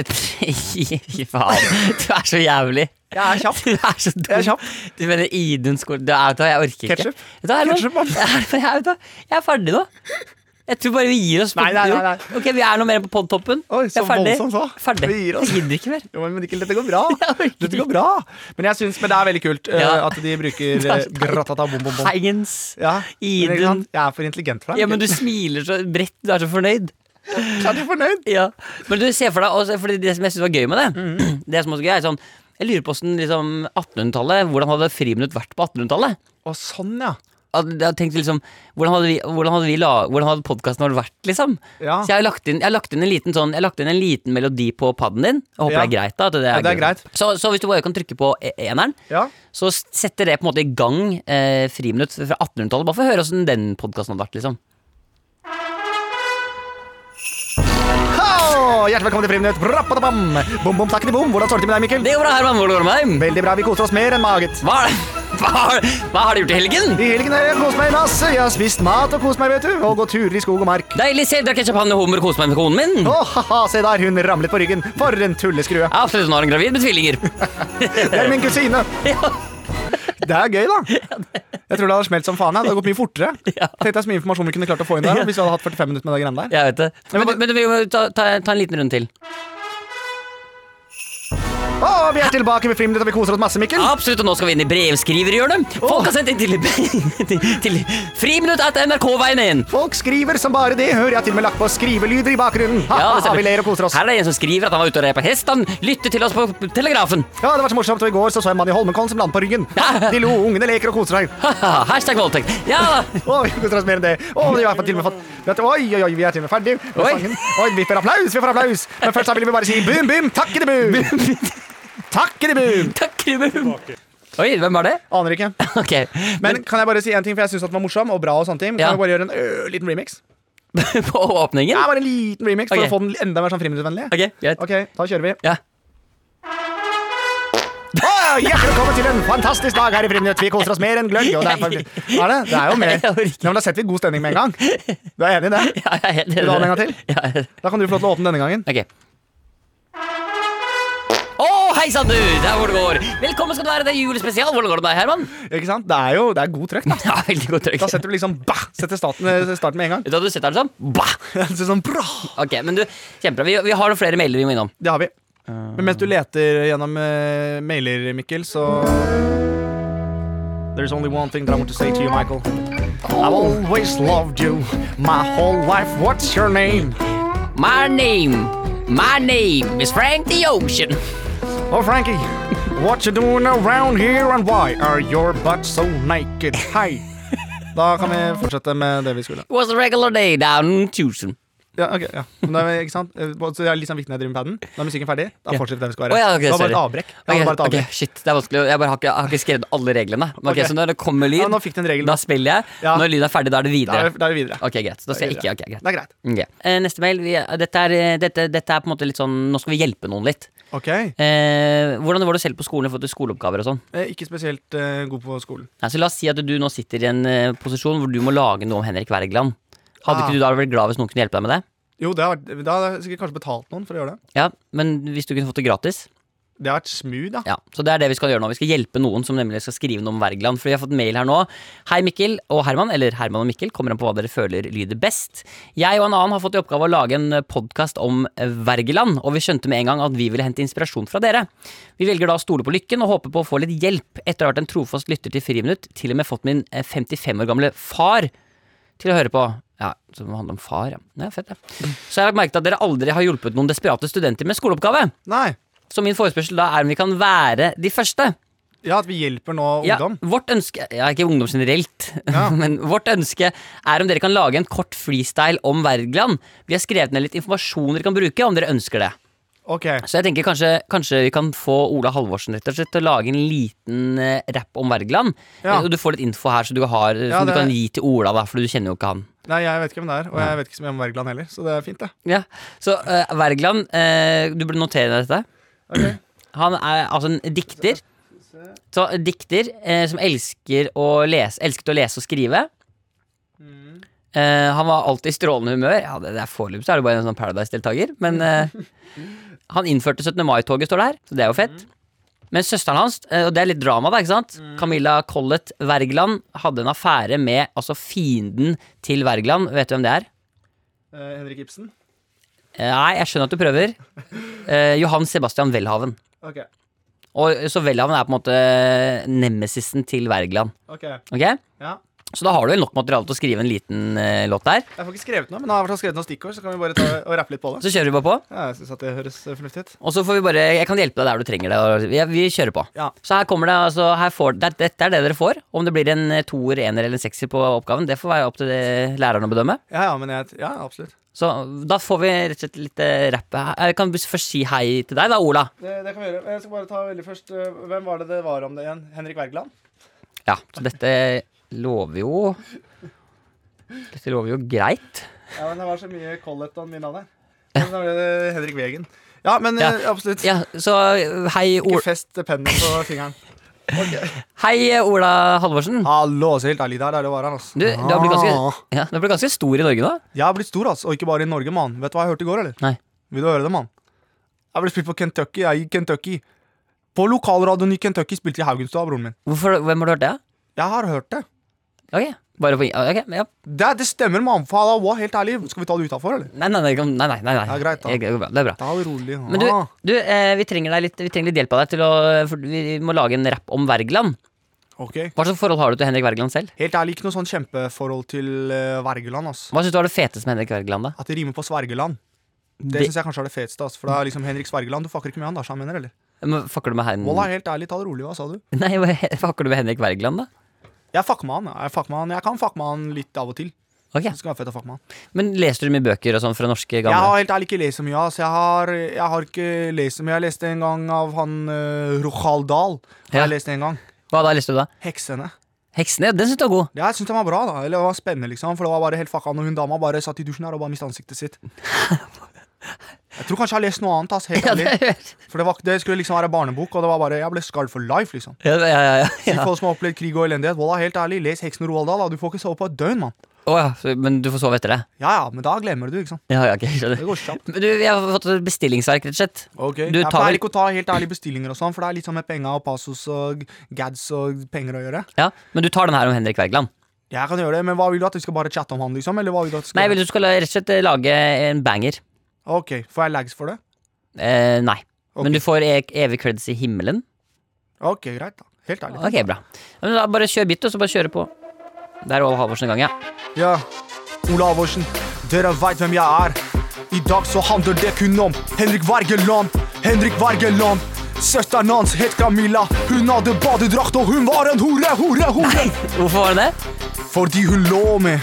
[SPEAKER 3] Gi faen. Du er så jævlig.
[SPEAKER 2] Jeg er kjapp.
[SPEAKER 3] Du er så dum.
[SPEAKER 2] Jeg er kjapp.
[SPEAKER 3] Du mener Idun skole... Du, vet du hva, jeg orker ikke.
[SPEAKER 2] Ketchup.
[SPEAKER 3] Vet du hva, Herman?
[SPEAKER 2] Ketchup, mann.
[SPEAKER 3] Jeg, vet du hva, jeg er ferdig nå. Jeg tror bare vi gir oss. på-
[SPEAKER 2] Nei, nei, nei, nei.
[SPEAKER 3] Ok, Vi er nå mer på podtoppen.
[SPEAKER 2] Oi,
[SPEAKER 3] Jeg er
[SPEAKER 2] så
[SPEAKER 3] ferdig.
[SPEAKER 2] voldsomt, da.
[SPEAKER 3] Ferdig.
[SPEAKER 2] Vi gir oss.
[SPEAKER 3] Jeg gidder ikke mer.
[SPEAKER 2] Jo, men Mikkel, dette går bra.
[SPEAKER 3] Jeg orker
[SPEAKER 2] Dette går bra. Men jeg synes, men det er veldig kult eh,
[SPEAKER 3] Ja.
[SPEAKER 2] at de bruker
[SPEAKER 3] Det er
[SPEAKER 2] eh,
[SPEAKER 3] så teit.
[SPEAKER 2] gratata bom, bom, bom.
[SPEAKER 3] Heinz.
[SPEAKER 2] Ja, men ikke
[SPEAKER 3] Idun.
[SPEAKER 2] sant? Jeg er for intelligent for deg.
[SPEAKER 3] Ja, men du smiler så bredt. Du er så fornøyd.
[SPEAKER 2] Mikkel. Er du fornøyd?
[SPEAKER 3] Ja, Men du ser for deg også, fordi Det som jeg synes var gøy med det,
[SPEAKER 2] Mhm.
[SPEAKER 3] Det som også er gøy er sånn Jeg lurer på hvordan liksom, 1800-tallet Hvordan hadde friminutt vært på 1800-tallet?
[SPEAKER 2] Å, sånn, ja.
[SPEAKER 3] at jeg tenkte liksom Hvordan hadde, vi, hvordan hadde, vi la, hvordan hadde podcasten vår vært, liksom?
[SPEAKER 2] Ja.
[SPEAKER 3] Så jeg har lagt inn, jeg har lagt inn en liten sånn Jeg har lagt inn en liten melodi på padden din. Jeg håper
[SPEAKER 2] Ja.
[SPEAKER 3] det er greit. da at det er
[SPEAKER 2] Ja, det er greit.
[SPEAKER 3] Så, så hvis du bare kan trykke på e- eneren,
[SPEAKER 2] Ja.
[SPEAKER 3] så setter det på en måte i gang eh, friminutt fra 1800-tallet. Bare for å høre åssen den podkasten hadde vært, liksom.
[SPEAKER 2] Å, hjertelig velkommen til Friminutt. Bra-pa-da-bam. Bom, bom, takketi, bom. Hvordan står det til med deg, Mikkel?
[SPEAKER 3] Det går bra, Herman. Hvordan går det med deg?
[SPEAKER 2] Veldig bra. Vi koser oss mer enn maget.
[SPEAKER 3] Hva, er det- hva, har- hva har du gjort i helgen?
[SPEAKER 2] I helgen har jeg kost meg masse. Jeg har spist mat og kost meg, vet du. Og gått turer i skog og mark.
[SPEAKER 3] Deilig. Se, drakk ketsjup, og hummer, koste meg med konen min.
[SPEAKER 2] Å, ha-ha, se der, hun ramlet på ryggen. For en tulleskrue.
[SPEAKER 3] Ja, absolutt, hun har en gravid med tvillinger.
[SPEAKER 2] Det er min kusine. Det er gøy, da. Jeg tror det hadde smelt som faen. jeg. Det hadde gått mye fortere. Tenkte jeg så mye informasjon vi kunne klart å få inn der. Hvis vi hadde hatt 45 minutter med det greiene der.
[SPEAKER 3] Jeg vet det. Men, men, vi må ta, ta, ta en liten runde til.
[SPEAKER 2] Å, vi er tilbake med Friminutt, og vi koser oss masse, Mikkel.
[SPEAKER 3] Absolutt, og nå skal vi inn i brevskriverhjørnet. Folk har sendt inn til, til, til friminutt etter nrkveien inn.
[SPEAKER 2] Folk skriver som bare det. Hører jeg til og med lagt på skrivelyder i bakgrunnen.
[SPEAKER 3] Ja, det
[SPEAKER 2] Ha-ha,
[SPEAKER 3] stemmer.
[SPEAKER 2] vi ler og koser oss.
[SPEAKER 3] Her er det en som skriver at han var ute og rei på hest. Han lytter til oss på Telegrafen.
[SPEAKER 2] Ja, det var så morsomt, og i går så, så jeg en mann i Holmenkollen som landet på ryggen. De lo, ungene leker og koser seg.
[SPEAKER 3] Haha, Hashtag voldtekt. Ja, da.
[SPEAKER 2] Å, vi koser oss mer enn det. Å, vi har fått til og med fått vet du, Oi, oi, oi, vi er til og med ferdig med
[SPEAKER 3] Oi.
[SPEAKER 2] sangen. Oi, vi får applaus, vi får applaus. Men først da vil vi bare si boom, boom, takkede boom. Takkede boom.
[SPEAKER 3] takk, Ruben. Oi, hvem var det?
[SPEAKER 2] Aner ikke.
[SPEAKER 3] Ok.
[SPEAKER 2] Men kan jeg bare si en ting, for jeg syns den var morsom og bra og sånne ting.
[SPEAKER 3] Ja.
[SPEAKER 2] Kan vi bare gjøre en ø, liten remix?
[SPEAKER 3] på åpningen?
[SPEAKER 2] Ja, bare en liten remix for
[SPEAKER 3] Ok.
[SPEAKER 2] å få den enda mer sånn friminuttvennlig.
[SPEAKER 3] Ok, greit.
[SPEAKER 2] Ok, da kjører vi.
[SPEAKER 3] Ja.
[SPEAKER 2] Å, hjertelig velkommen til en fantastisk dag her i Friminutt. Vi koser oss mer enn gløgg. Og det er, for... er det? Det er jo mer.
[SPEAKER 3] Jeg orker ikke.
[SPEAKER 2] Ja, men da setter vi god stemning med en gang. Du er enig i det?
[SPEAKER 3] Ja, jeg er helt enig.
[SPEAKER 2] Vil du ha den en gang til?
[SPEAKER 3] Ja, jeg er helt-
[SPEAKER 2] Da kan du få lov til å åpne denne gangen.
[SPEAKER 3] Ok. Å, hei sann, du! Der hvor det går. Velkommen skal du være. Det er julespesial. Hvordan går det med deg, Herman?
[SPEAKER 2] Ikke sant? Det er jo det er god trøkk, da.
[SPEAKER 3] Ja, veldig godt trykk.
[SPEAKER 2] Da setter du liksom bah, setter starten, starten med en gang.
[SPEAKER 3] Vet du hva du setter den som? Bah!
[SPEAKER 2] Det er sånn bra.
[SPEAKER 3] Ok, men du, kjempebra. Vi, vi har noen flere mailer vi må innom.
[SPEAKER 2] Det har vi. Men mens du leter gjennom eh, mailer, Mikkel, så There's only one thing that I want to say to you, Michael. I've always loved you my whole life. What's your name?
[SPEAKER 3] My name, my name is Frank the Ocean.
[SPEAKER 2] Oh, Frankie, what you doing around here, and why are your butts so naked? Hei. Da kan vi fortsette med det vi skulle.
[SPEAKER 3] It was a regular day down in Tucson.
[SPEAKER 2] Ja, ok, ja. Men da, er vi- ikke sant? Eh, Så det er litt sånn viktig når jeg driver med paden. Da er musikken ferdig. Da
[SPEAKER 3] Ja.
[SPEAKER 2] fortsetter det vi skal
[SPEAKER 3] Å
[SPEAKER 2] være.
[SPEAKER 3] ja, ok,
[SPEAKER 2] det var bare et
[SPEAKER 3] sorry.
[SPEAKER 2] avbrekk. Det var bare et
[SPEAKER 3] Ok,
[SPEAKER 2] avbrekk.
[SPEAKER 3] ok, shit, det er vanskelig. å- Jeg, bare har ikke, jeg har ikke skrevet alle reglene. Men ok,
[SPEAKER 2] Ok.
[SPEAKER 3] Så når det kommer lyd,
[SPEAKER 2] Ja, nå fikk du en regel.
[SPEAKER 3] da spiller jeg.
[SPEAKER 2] Ja.
[SPEAKER 3] Når lyden er ferdig, da er det
[SPEAKER 2] Da er
[SPEAKER 3] videre.
[SPEAKER 2] vi- da er vi videre.
[SPEAKER 3] Ok, greit. Da skal jeg ikke,
[SPEAKER 2] videre.
[SPEAKER 3] ok, greit.
[SPEAKER 2] Det er greit.
[SPEAKER 3] Ok. Eh, Neste mail. Vi, dette, er, eh, dette, dette er på en måte litt sånn Nå skal vi hjelpe noen litt.
[SPEAKER 2] Ok.
[SPEAKER 3] Eh, hvordan var du selv på skolen i forhold til skoleoppgaver og sånn?
[SPEAKER 2] Eh, Ikke spesielt eh, god på skolen.
[SPEAKER 3] Nei, så La oss si at du nå sitter i en eh, posisjon hvor du må lage noe om Henrik Wergeland. Hadde
[SPEAKER 2] Ah.
[SPEAKER 3] ikke du da vært glad hvis noen kunne hjelpe deg med det?
[SPEAKER 2] Jo, det har, vært- da hadde jeg sikkert kanskje betalt noen for å gjøre det.
[SPEAKER 3] Ja, Men hvis du kunne fått det gratis?
[SPEAKER 2] Det har vært smooth, da.
[SPEAKER 3] Ja, Så det er det vi skal gjøre nå. Vi skal hjelpe noen som nemlig skal skrive noe om Wergeland. For vi har fått mail her nå. Hei, Mikkel og Herman. Eller Herman og Mikkel, kommer an på hva dere føler lyder best. Jeg og en annen har fått i oppgave å lage en podkast om eh, Wergeland, og vi skjønte med en gang at vi ville hente inspirasjon fra dere. Vi velger da å stole på lykken og håper på å få litt hjelp, etter å ha vært en trofast lytter til Friminutt, til og med fått min eh, 55 år gamle far til å høre på. Ja, Som handler om far, ja. ja fett, ja. Så jeg har lagt merke til at dere aldri har hjulpet noen desperate studenter med skoleoppgave.
[SPEAKER 2] Nei.
[SPEAKER 3] Så min forespørsel da er om vi kan være de første.
[SPEAKER 2] Ja, at vi hjelper nå
[SPEAKER 3] Ja,
[SPEAKER 2] ungdom.
[SPEAKER 3] vårt ønske, ja, ikke ungdom generelt,
[SPEAKER 2] Ja.
[SPEAKER 3] men vårt ønske er om dere kan lage en kort freestyle om Wergeland. Vi har skrevet ned litt informasjon dere kan bruke, om dere ønsker det.
[SPEAKER 2] Ok,
[SPEAKER 3] Så jeg tenker kanskje, kanskje vi kan få Ola Halvorsen rett og slett til å lage en liten eh, rapp om Wergeland.
[SPEAKER 2] Ja.
[SPEAKER 3] Eh, Og du får litt info her som du, har, som
[SPEAKER 2] Ja, det-
[SPEAKER 3] du kan gi til Ola, da, for du kjenner jo ikke han.
[SPEAKER 2] Nei, jeg vet ikke hvem det er, og jeg vet ikke så mye om Wergeland heller. Så det er fint, det.
[SPEAKER 3] Ja, Så eh, Wergeland, eh, du burde notere deg dette.
[SPEAKER 2] Ok.
[SPEAKER 3] Han er altså en dikter. Så en dikter eh, som elsker å lese, elsket å lese og skrive. Eh, han var alltid i strålende humør. Ja, det, det er Foreløpig så er det bare en sånn Paradise-deltaker. Men eh, han innførte 17. mai-toget, står det her. Så det er jo fett. Men søsteren hans, eh, og det er litt drama, da, ikke sant? Camilla Collett Wergeland hadde en affære med altså fienden til Wergeland. Vet du hvem det er?
[SPEAKER 2] Eh, Henrik Ibsen.
[SPEAKER 3] Eh, Nei, jeg skjønner at du prøver. Eh, Johan Sebastian Welhaven.
[SPEAKER 2] Ok.
[SPEAKER 3] Og, så Welhaven er på en måte nemesisen til Wergeland.
[SPEAKER 2] ok
[SPEAKER 3] ok?
[SPEAKER 2] ja.
[SPEAKER 3] Så da har du vel nok materiale til å skrive en liten eh, låt der.
[SPEAKER 2] Jeg får ikke skrevet noe, men han har i hvert fall skrevet noen stikkord, så kan vi bare ta og rappe litt på det.
[SPEAKER 3] Så kjører vi bare på.
[SPEAKER 2] Ja, jeg synes at det høres eh, fornuftig ut.
[SPEAKER 3] Og så får vi bare Jeg kan hjelpe deg der du trenger det. og Vi, vi kjører på.
[SPEAKER 2] Ja.
[SPEAKER 3] Så her kommer det altså her får, det, Dette er det dere får. Om det blir en eh, toer, ener eller en sekser på oppgaven, det får være opp til eh, læreren å bedømme.
[SPEAKER 2] Ja, ja, men jeg, ja, absolutt.
[SPEAKER 3] Så da får vi rett og slett litt eh, rapp. Jeg kan først si hei til deg, da, Ola.
[SPEAKER 2] Det, det kan vi gjøre. Jeg skal bare ta veldig først eh, Hvem var det det var om det igjen? Henrik Wergeland?
[SPEAKER 3] Ja, så dette lover jo Dette lover jo greit.
[SPEAKER 2] Ja, men det var så mye Collett og min navn her. Men da ble det Henrik Wegen. Ja, men
[SPEAKER 3] Ja.
[SPEAKER 2] eh, absolutt.
[SPEAKER 3] Ja, så hei,
[SPEAKER 2] Ikke
[SPEAKER 3] Ola,
[SPEAKER 2] fest pennen på fingeren.
[SPEAKER 3] hei, Ola Halvorsen.
[SPEAKER 2] Hallo, så helt ærlig der, der det var han, altså.
[SPEAKER 3] Du, du, har blitt ganske, ja, du har blitt ganske stor i Norge nå.
[SPEAKER 2] Jeg har blitt stor, altså. Og ikke bare i Norge, mann. Vet du hva jeg hørte i går, eller?
[SPEAKER 3] Nei.
[SPEAKER 2] Vil du høre det, mann? Jeg ble spilt på Kentucky. Jeg er i Kentucky. På lokalradioen i Kentucky spilte jeg Haugenstua, broren min.
[SPEAKER 3] Hvorfor, hvem har du hørt det?
[SPEAKER 2] Jeg har hørt det.
[SPEAKER 3] Ok, bare på ok, ja.
[SPEAKER 2] Det, det stemmer, mann. For Allah, wow, helt ærlig. Skal vi ta det utafor, eller?
[SPEAKER 3] Nei, nei, nei, nei, nei, nei, nei.
[SPEAKER 2] Ja, greit da.
[SPEAKER 3] Jeg- Det går bra, det er bra.
[SPEAKER 2] Ta det rolig.
[SPEAKER 3] Men du,
[SPEAKER 2] Ah,
[SPEAKER 3] du eh, vi, trenger deg litt, vi trenger litt hjelp av deg til å for Vi må lage en rapp om Wergeland.
[SPEAKER 2] ok.
[SPEAKER 3] Hva slags forhold har du til Henrik Wergeland selv?
[SPEAKER 2] Helt ærlig, ikke noe sånn kjempeforhold til eh, Wergeland, ass.
[SPEAKER 3] Hva syns du var det feteste med Henrik Wergeland, da?
[SPEAKER 2] At det rimer på Svergeland. Det,
[SPEAKER 3] Det-
[SPEAKER 2] synes syns jeg kanskje er det feteste. ass, For da er liksom Henrik Svergeland. Du fucker ikke med han, da, så han mener, eller?
[SPEAKER 3] Men Fucker du med Hen...
[SPEAKER 2] Wallah, helt ærlig, ta det rolig, hva sa du?
[SPEAKER 3] Nei, hva- fucker du med Henrik Wergeland, da?
[SPEAKER 2] Jeg fucker med han. ja, Jeg, fucker med han. jeg kan fucke med han litt av og til.
[SPEAKER 3] Ok,
[SPEAKER 2] Det skal være fett å fucke med han.
[SPEAKER 3] Men leser du mye bøker og sånn fra norske
[SPEAKER 2] Jeg
[SPEAKER 3] gamle?
[SPEAKER 2] har helt ærlig ikke lest så mye. ass. Jeg har, jeg har ikke lest så mye. Jeg leste en gang av han uh, Rochald Dahl. Har
[SPEAKER 3] Ja.
[SPEAKER 2] Jeg lest en gang.
[SPEAKER 3] Hva da leste du da?
[SPEAKER 2] 'Heksene'.
[SPEAKER 3] Heksene, ja, den syns du var god.
[SPEAKER 2] Ja, jeg syntes den var bra, da. Eller det var spennende, liksom. For det var bare helt fucka når hun dama bare satt i dusjen her og bare mistet ansiktet sitt. Jeg tror kanskje jeg har lest noe annet. ass, helt
[SPEAKER 3] Ja, det,
[SPEAKER 2] ærlig. For det, var, det skulle liksom være barnebok, og det var bare, jeg ble scarred for life, liksom.
[SPEAKER 3] ja, ja, ja,
[SPEAKER 2] Til
[SPEAKER 3] ja.
[SPEAKER 2] folk som har opplevd krig og elendighet. Wallah, helt ærlig, les 'Heksen og Roald Dahl'. da. Du får ikke sove på et døgn, mann.
[SPEAKER 3] Å ja, så- men du får sove etter det?
[SPEAKER 2] Ja ja, men da glemmer du, ikke sant.
[SPEAKER 3] Ja, ja, ok, skjønner.
[SPEAKER 2] Det går kjapt.
[SPEAKER 3] Men du, jeg har fått et bestillingsverk, rett og slett.
[SPEAKER 2] Okay.
[SPEAKER 3] Du
[SPEAKER 2] jeg
[SPEAKER 3] tar
[SPEAKER 2] pleier
[SPEAKER 3] vel-
[SPEAKER 2] ikke å ta helt ærlige bestillinger og sånn, for det er litt sånn med penga og passos og gads og penger å gjøre.
[SPEAKER 3] Ja, Men du tar den her om Henrik Wergeland?
[SPEAKER 2] Jeg kan gjøre det, men hva vil du at vi skal bare chatte om han, liksom? Eller hva vil du at vi skal
[SPEAKER 3] Nei, jeg vil du skal rett og slett eh, lage en banger.
[SPEAKER 2] Ok, Får jeg lags for det?
[SPEAKER 3] Eh, nei.
[SPEAKER 2] Ok.
[SPEAKER 3] Men du får e evig creds i himmelen.
[SPEAKER 2] Ok, greit, da. Helt ærlig.
[SPEAKER 3] Ok, bra. Ja, Men da Bare kjør bitt, og så bare kjøre på. Det er Ola Halvorsen i gang, ja.
[SPEAKER 2] Ja, Ola Halvorsen, dere veit hvem jeg er. I dag så handler det kun om Henrik Wergeland, Henrik Wergeland. Søsteren hans het Camilla. Hun hadde badedrakt, og hun var en hore, hore, hore.
[SPEAKER 3] Hvorfor var det det?
[SPEAKER 2] Fordi hun lå med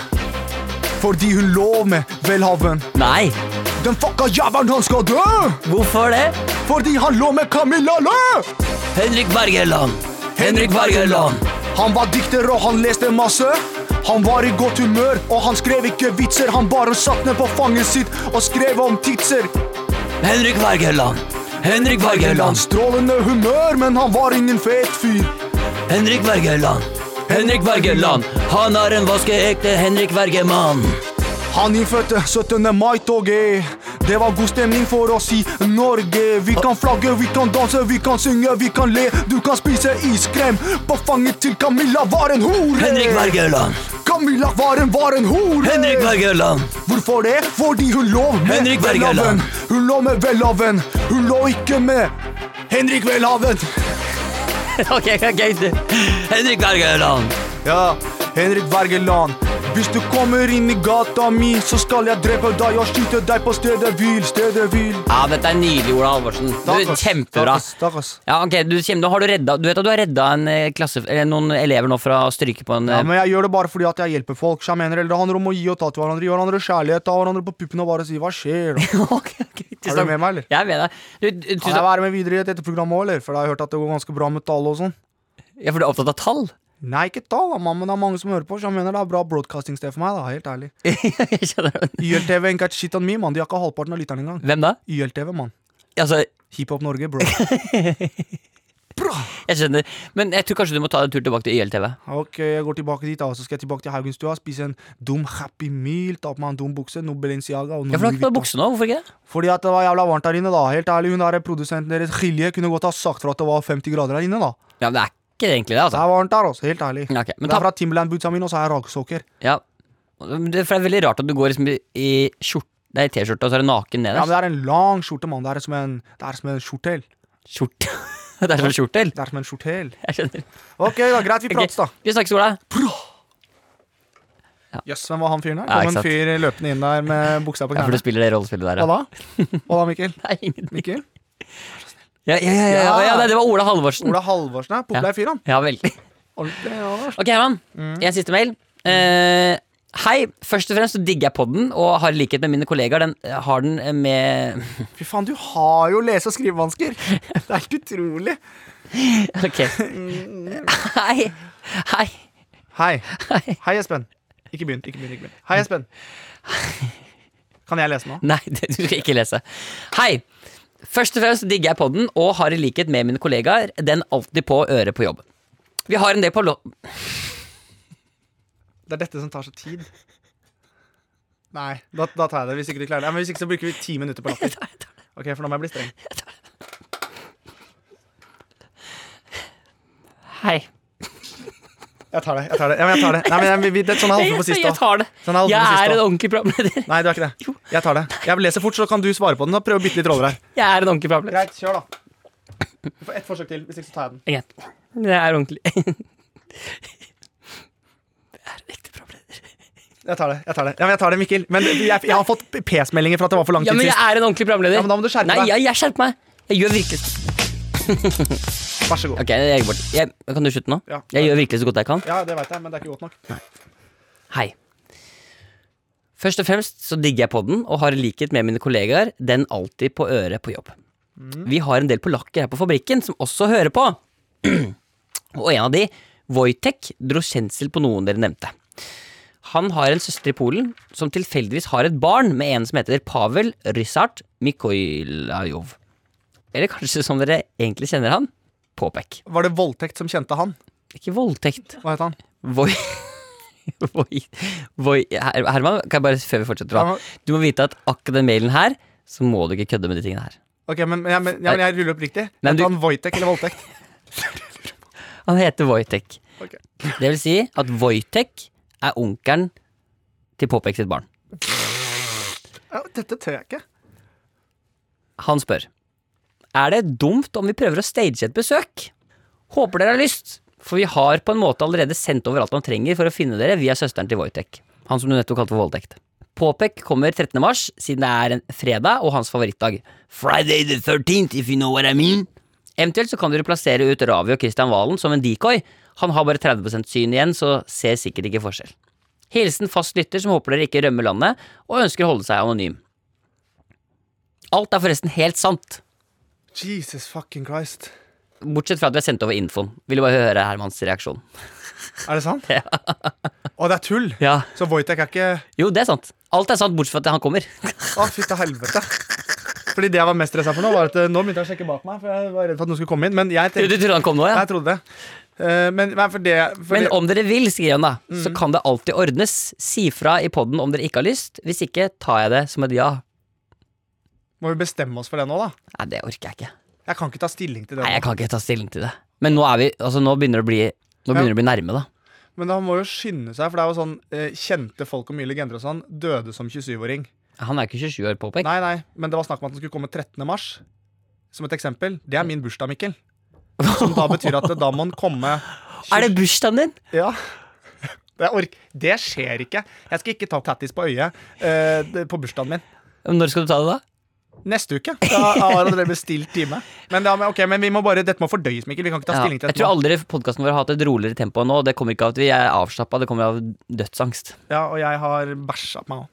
[SPEAKER 2] Fordi hun lå med Welhaven.
[SPEAKER 3] Nei.
[SPEAKER 2] Den fucka jævelen, han skal dø!
[SPEAKER 3] Hvorfor det?
[SPEAKER 2] Fordi han lå med Camilla Lø!
[SPEAKER 3] Henrik Wergeland! Henrik Wergeland!
[SPEAKER 2] Han var dikter og han leste masse. Han var i godt humør, og han skrev ikke vitser. Han bare satt ned på fanget sitt og skrev om titser.
[SPEAKER 3] Henrik Wergeland! Henrik
[SPEAKER 2] Wergeland strålende humør, men han var ingen fet fyr.
[SPEAKER 3] Henrik Wergeland!
[SPEAKER 2] Henrik Wergeland.
[SPEAKER 3] Han er en vaskeekte Henrik Wergemann!
[SPEAKER 2] Han innfødte 17. mai-toget. Det var god stemning for oss i Norge. Vi kan flagge, vi kan danse, vi kan synge, vi kan le. Du kan spise iskrem. På fanget til Camilla var en hore.
[SPEAKER 3] Wergeland!
[SPEAKER 2] Camilla var en, var en hore.
[SPEAKER 3] Wergeland!
[SPEAKER 2] Hvorfor det? Fordi hun lå med
[SPEAKER 3] Henrik Wergeland.
[SPEAKER 2] Welhaven. Hun lå med Welhaven. Hun lå ikke med Henrik Welhaven.
[SPEAKER 3] ok, ok, Henrik Wergeland!
[SPEAKER 2] Ja, Henrik Wergeland. Hvis du kommer inn i gata mi, så skal jeg drepe deg og skyte deg på stedet hvil. Stedet hvil.
[SPEAKER 3] Ja, dette er nydelig, Ola Halvorsen. Du, kjempebra.
[SPEAKER 2] Stakkars.
[SPEAKER 3] Ja, ok, du, Kjem, nå har du, redda, du vet at du har redda en eh, klasse, eller noen elever nå fra å stryke på en
[SPEAKER 2] Ja,
[SPEAKER 3] eh,
[SPEAKER 2] men jeg gjør det bare fordi at jeg hjelper folk. så Jeg mener, eller Det handler om å gi og ta til hverandre. Gi hverandre kjærlighet, ta hverandre på puppen og bare si 'hva skjer'? da?
[SPEAKER 3] Ok, ok,
[SPEAKER 2] Er
[SPEAKER 3] tusen
[SPEAKER 2] du
[SPEAKER 3] takk.
[SPEAKER 2] med meg, eller?
[SPEAKER 3] Jeg er med deg. Du,
[SPEAKER 2] Kan
[SPEAKER 3] du,
[SPEAKER 2] jeg
[SPEAKER 3] tusen takk.
[SPEAKER 2] være med videre i et etterprogram òg, eller? For jeg har hørt at det går ganske bra med tall og sånn.
[SPEAKER 3] Ja, for du er opptatt av tall?
[SPEAKER 2] Nei, ikke tall, da, mann, men det er mange som hører på, så jeg mener det er bra broadcastingsted for meg, da, helt ærlig.
[SPEAKER 3] Jeg skjønner det.
[SPEAKER 2] YLTV ain't got shit on me, mann. De har ikke halvparten av lytterne engang.
[SPEAKER 3] Hvem da?
[SPEAKER 2] YLTV, mann.
[SPEAKER 3] Altså,
[SPEAKER 2] Hiphop Norge, bro.
[SPEAKER 3] jeg skjønner. Men jeg tror kanskje du må ta en tur tilbake til YLTV.
[SPEAKER 2] Ok, jeg går tilbake dit, da. Så skal jeg tilbake til Haugenstua, spise en dum Happy Meal, ta på meg en dum bukse, noe Balenciaga og noe
[SPEAKER 3] Ja, for du
[SPEAKER 2] Louis
[SPEAKER 3] har ikke på deg
[SPEAKER 2] Vuitton.
[SPEAKER 3] bukse nå, hvorfor ikke? det?
[SPEAKER 2] Fordi at det var jævla varmt der inne, da. Helt ærlig, hun der produsenten deres, Hilje, kunne godt ha sagt fra at det var 50 grader der inne, da.
[SPEAKER 3] Ja, men det er ikke egentlig det,
[SPEAKER 2] Det
[SPEAKER 3] altså.
[SPEAKER 2] er varmt der, altså. Helt ærlig.
[SPEAKER 3] Ja, ok, men
[SPEAKER 2] det
[SPEAKER 3] ta-
[SPEAKER 2] er fra Timberland-bootsa mine, og så er jeg ragsokker.
[SPEAKER 3] Ja. Men Det, for det er veldig rart at du går liksom i i skjort- nei, T-skjorte, og så er du naken
[SPEAKER 2] Ja, men
[SPEAKER 3] nederst.
[SPEAKER 2] det er en lang skjorte, mann. Det er som en, det er som en skjortel.
[SPEAKER 3] Skjorte. Det er som en skjortel.
[SPEAKER 2] Det er som en skjortel.
[SPEAKER 3] Jeg skjønner.
[SPEAKER 2] Ok, da, greit, vi
[SPEAKER 3] Ok,
[SPEAKER 2] prates, da.
[SPEAKER 3] Vi snakkes, Ola.
[SPEAKER 2] Jøss, hvem var han fyren der?
[SPEAKER 3] Ja,
[SPEAKER 2] Kom
[SPEAKER 3] ikke
[SPEAKER 2] en
[SPEAKER 3] sant.
[SPEAKER 2] fyr løpende inn der med buksa på
[SPEAKER 3] Ja, for du
[SPEAKER 2] knærne.
[SPEAKER 3] spiller det rollespillet der,
[SPEAKER 2] Hva
[SPEAKER 3] ja.
[SPEAKER 2] da? Hva da, Mikkel?
[SPEAKER 3] Nei, ingenting.
[SPEAKER 2] Mikkel?
[SPEAKER 3] Ja, ja, ja, ja, ja, nei, det var Ola Halvorsen.
[SPEAKER 2] Ola Halvorsen er populær fyr, han.
[SPEAKER 3] Ja, veldig.
[SPEAKER 2] Ordentlig, ja, Lars.
[SPEAKER 3] Ok, Herman. En siste mail. Eh, hei. Først og fremst så digger jeg podden, og har i likhet med mine kollegaer den, eh, har den med
[SPEAKER 2] Fy faen, du har jo lese- og skrivevansker! Det er helt utrolig.
[SPEAKER 3] Ok. Hei. Hei.
[SPEAKER 2] Hei. Hei, Espen. Ikke begynn. ikke begynn, ikke begynn. Hei, Espen. Kan jeg lese nå?
[SPEAKER 3] Nei, det, du skal ikke lese. Hei! Først og fremst digger jeg podden og har i likhet med mine kollegaer den alltid på øret på jobb. Vi har en del på lo...
[SPEAKER 2] Det er dette som tar så tid. Nei, da, da tar jeg det. Hvis ikke du klarer det. Ja, Men hvis ikke, så bruker vi ti minutter på latter. Ok, for nå må jeg bli streng.
[SPEAKER 3] Hei.
[SPEAKER 2] Jeg tar det. jeg tar det. Ja, men jeg tar det. Nei, men jeg, vi, det sånn er det på sist
[SPEAKER 3] jeg
[SPEAKER 2] også.
[SPEAKER 3] tar det.
[SPEAKER 2] Sånn er det
[SPEAKER 3] Jeg
[SPEAKER 2] på sist
[SPEAKER 3] er en
[SPEAKER 2] også.
[SPEAKER 3] ordentlig programleder.
[SPEAKER 2] Nei, du er ikke det. Jeg tar det. Jeg leser fort, så kan du svare på den. og Prøve å bytte litt roller her.
[SPEAKER 3] Jeg er en ordentlig programleder.
[SPEAKER 2] Greit, kjør, da. Du får ett forsøk til. Hvis ikke, så tar jeg den.
[SPEAKER 3] Greit. Jeg er ordentlig Jeg er en ekte programleder.
[SPEAKER 2] Jeg tar det. jeg tar det. Ja, men jeg tar det, Mikkel. Men jeg, jeg har fått PS-meldinger for at det var for lang
[SPEAKER 3] Ja,
[SPEAKER 2] tid
[SPEAKER 3] men jeg
[SPEAKER 2] sist.
[SPEAKER 3] er en ordentlig programleder.
[SPEAKER 2] Ja, men da må du skjerpe
[SPEAKER 3] Nei,
[SPEAKER 2] deg.
[SPEAKER 3] jeg, jeg skjerper meg. Jeg gjør virkelig
[SPEAKER 2] Vær så god.
[SPEAKER 3] Ok, jeg legger bort. Jeg, kan du slutte nå?
[SPEAKER 2] Ja.
[SPEAKER 3] Jeg gjør virkelig så godt jeg kan.
[SPEAKER 2] Ja, det veit jeg, men det er ikke godt nok.
[SPEAKER 3] Hei. Først og fremst så digger jeg podden og har i likhet med mine kollegaer den alltid på øret på jobb. Vi har en del polakker her på fabrikken som også hører på. og en av de, Wojtek, dro kjensel på noen dere nevnte. Han har en søster i Polen som tilfeldigvis har et barn med en som heter Pavel Ryssart Mikoilajov. Eller kanskje som dere egentlig kjenner han, Popek.
[SPEAKER 2] Var det voldtekt som kjente han?
[SPEAKER 3] Ikke voldtekt.
[SPEAKER 2] Hva het han?
[SPEAKER 3] Voi Voi, voi Her, Herman, kan jeg bare før vi fortsetter da.
[SPEAKER 2] Ja, men-
[SPEAKER 3] Du må vite at akkurat den mailen her, så må du ikke kødde med de tingene her.
[SPEAKER 2] Ok, men, ja, men, ja, men jeg ruller opp riktig.
[SPEAKER 3] Nei,
[SPEAKER 2] Vet
[SPEAKER 3] du-
[SPEAKER 2] han Wojtek eller voldtekt?
[SPEAKER 3] Han heter Wojtek.
[SPEAKER 2] Ok.
[SPEAKER 3] Det vil si at Wojtek er onkelen til Popek sitt barn.
[SPEAKER 2] Ja, dette tør jeg ikke.
[SPEAKER 3] Han spør Er det dumt om vi prøver å stage et besøk? Håper dere har lyst, for vi har på en måte allerede sendt over alt han trenger for å finne dere via søsteren til Wojtek. Han som du nettopp kalte for voldtekt. Påpek kommer 13. mars, siden det er en fredag og hans favorittdag. Friday the 13th, if you know what I mean. Eventuelt så kan dere plassere ut Ravi og Christian Valen som en decoy. Han har bare 30 syn igjen, så ser sikkert ikke forskjell. Hilsen fast lytter som håper dere ikke rømmer landet, og ønsker å holde seg anonym. Alt er forresten helt sant.
[SPEAKER 2] Jesus fucking Christ.
[SPEAKER 3] Bortsett fra at vi har sendt over infoen. Ville bare høre Hermans reaksjon.
[SPEAKER 2] Er det sant? Ja. Å, det er tull? Så Wojtek er ikke
[SPEAKER 3] Jo, det er sant. Alt er sant, bortsett fra at han kommer.
[SPEAKER 2] Å, fy til helvete. Fordi det jeg var mest stressa for nå, var at eh, nå begynte jeg å sjekke bak meg, for jeg var redd for at noen skulle komme inn. Men jeg
[SPEAKER 3] Du,
[SPEAKER 2] tenkte,
[SPEAKER 3] du trodde han kom nå, ja?
[SPEAKER 2] jeg trodde det. Eh, Men, men for det, for
[SPEAKER 3] Men
[SPEAKER 2] det
[SPEAKER 3] om dere vil, skriver han da, så
[SPEAKER 2] Mm.
[SPEAKER 3] kan det alltid ordnes. Si fra i poden om dere ikke har lyst. Hvis ikke, tar jeg det som et ja.
[SPEAKER 2] Må vi bestemme oss for det nå, da?
[SPEAKER 3] Nei, det orker jeg ikke.
[SPEAKER 2] Jeg kan ikke ta stilling til det. nå.
[SPEAKER 3] Nei, jeg kan ikke ta stilling til det. Men nå er vi Altså, nå begynner det å bli Nå begynner det å bli nærme, da.
[SPEAKER 2] Men han må jo skynde seg, for det er jo sånn eh, kjente folk og mye legender og sånn døde som 27-åring.
[SPEAKER 3] Han er ikke 27 år, påpekt.
[SPEAKER 2] Nei, nei, men det var snakk om at den skulle komme 13. mars. Som et eksempel. Det er min bursdag, Mikkel. Som da betyr at da eh, må den komme
[SPEAKER 3] Er det bursdagen din?
[SPEAKER 2] Ja. Det, ork det skjer ikke. Jeg skal ikke ta tattis på øyet eh, det- på bursdagen min.
[SPEAKER 3] Når skal du ta det, da?
[SPEAKER 2] Neste uke. Jeg har jeg har allerede bestilt time. Men, da, men, ok, men vi må bare, dette må fordøyes, Mikkel. Vi kan ikke ta
[SPEAKER 3] Ja.
[SPEAKER 2] stilling til
[SPEAKER 3] Jeg
[SPEAKER 2] dette.
[SPEAKER 3] tror
[SPEAKER 2] nå.
[SPEAKER 3] aldri podkasten vår har hatt et roligere tempo enn nå. og Det kommer ikke av at vi er avslappa, det kommer av dødsangst.
[SPEAKER 2] Ja, og jeg har bæsja på meg òg.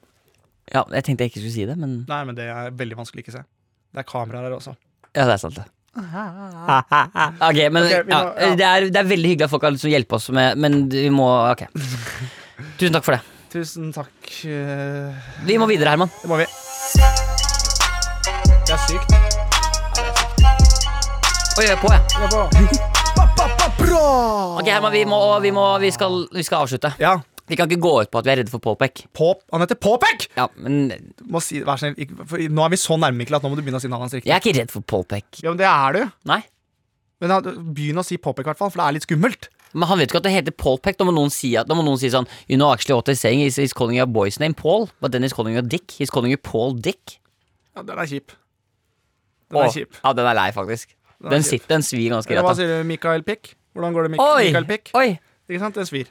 [SPEAKER 3] Ja, Jeg tenkte jeg ikke skulle si det, men
[SPEAKER 2] Nei, men det er veldig vanskelig å ikke se. Det er kameraer her også.
[SPEAKER 3] ja, det er sant, det. Ok, men
[SPEAKER 2] Ok, vi må-
[SPEAKER 3] ja,
[SPEAKER 2] ja.
[SPEAKER 3] det, er, det er veldig hyggelig at folk har lyst til å hjelpe oss med Men vi må Ok. Tusen takk for det.
[SPEAKER 2] Tusen takk. eh,
[SPEAKER 3] Vi må videre, Herman.
[SPEAKER 2] Det må vi. Det er sykt.
[SPEAKER 3] Oi, jeg er på, jeg.
[SPEAKER 2] Det er bra. Ba, ba, ba, bra!
[SPEAKER 3] Ok, Herman, vi, må, vi, må, vi, skal, vi skal avslutte.
[SPEAKER 2] Ja.
[SPEAKER 3] Vi kan ikke gå ut på at vi er redde for Påpek.
[SPEAKER 2] Pop. Han heter Påpek!
[SPEAKER 3] Ja, men
[SPEAKER 2] Må si, vær snill, ikke, for nå er vi så nærme, Mikkel, at nå må du begynne å si navnet hans riktig.
[SPEAKER 3] jeg er ikke redd for Påpek.
[SPEAKER 2] Ja, men det er du.
[SPEAKER 3] Nei.
[SPEAKER 2] Men ja, begynn å si Påpek, i hvert fall, for det er litt skummelt.
[SPEAKER 3] Men han vet ikke at det heter Pålpek. Da må noen si, at, da må noen si sånn You know actually what they're saying is he's calling you a boy's name Paul, but then he's calling you a dick. He's calling you Paul Dick.
[SPEAKER 2] Ja, den er kjip. Den er
[SPEAKER 3] Åh,
[SPEAKER 2] kjip.
[SPEAKER 3] Ja, den er lei, faktisk.
[SPEAKER 2] er
[SPEAKER 3] Den
[SPEAKER 2] kjip.
[SPEAKER 3] sitter, den svir ganske
[SPEAKER 2] Eller hva
[SPEAKER 3] greit. da.
[SPEAKER 2] sier du, Mikael Pick? Hvordan går det, Mik
[SPEAKER 3] Oi!
[SPEAKER 2] Mikael Pick?
[SPEAKER 3] Oi!
[SPEAKER 2] Ikke sant? Den svir.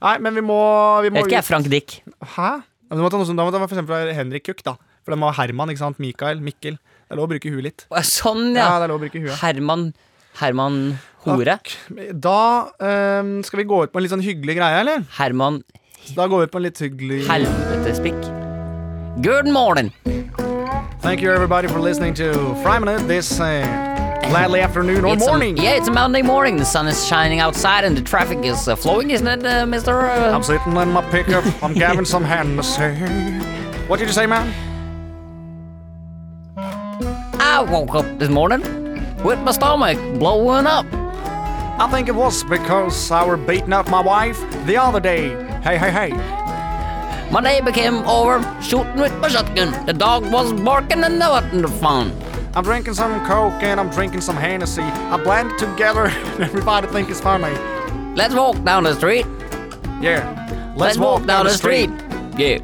[SPEAKER 2] Nei, men vi må, vi
[SPEAKER 3] Jeg
[SPEAKER 2] må
[SPEAKER 3] vet ikke, jeg er Frank Dick.
[SPEAKER 2] Hæ? Ja, men du må ta noe som, da må det være for eksempel Henrik Kukk, da. For det må være Herman, ikke sant? Mikael, Mikkel. Det er lov å bruke huet litt.
[SPEAKER 3] Å, Sånn,
[SPEAKER 2] Ja,
[SPEAKER 3] ja.
[SPEAKER 2] det er lov å bruke huet.
[SPEAKER 3] Herman Herman Hore.
[SPEAKER 2] Da øhm, skal vi gå ut på en litt sånn hyggelig greie, eller?
[SPEAKER 3] Herman
[SPEAKER 2] Da går vi ut på en litt hyggelig
[SPEAKER 3] Helvetespikk. Good morning.
[SPEAKER 2] Thank you everybody for listening to Fry Minute this uh, gladly afternoon or
[SPEAKER 3] It's a-
[SPEAKER 2] morning.
[SPEAKER 3] yeah, it's a Monday morning. The sun is shining outside and the traffic is uh, flowing, isn't it, uh, Mr. Uh,
[SPEAKER 2] I'm sitting in my pickup. I'm giving some hand to say. What did you say, man?
[SPEAKER 3] I woke up this morning with my stomach blowing up.
[SPEAKER 2] I think it was because I were beating up my wife the other day. Hey, hey, hey.
[SPEAKER 3] My neighbor came over shooting with my shotgun. The dog was barking and that wasn't fun.
[SPEAKER 2] I'm drinking some Coke and I'm drinking some Hennessy. I blend it together and everybody think it's funny.
[SPEAKER 3] Let's walk down the street.
[SPEAKER 2] Yeah.
[SPEAKER 3] Let's, walk, down, the street. Yeah.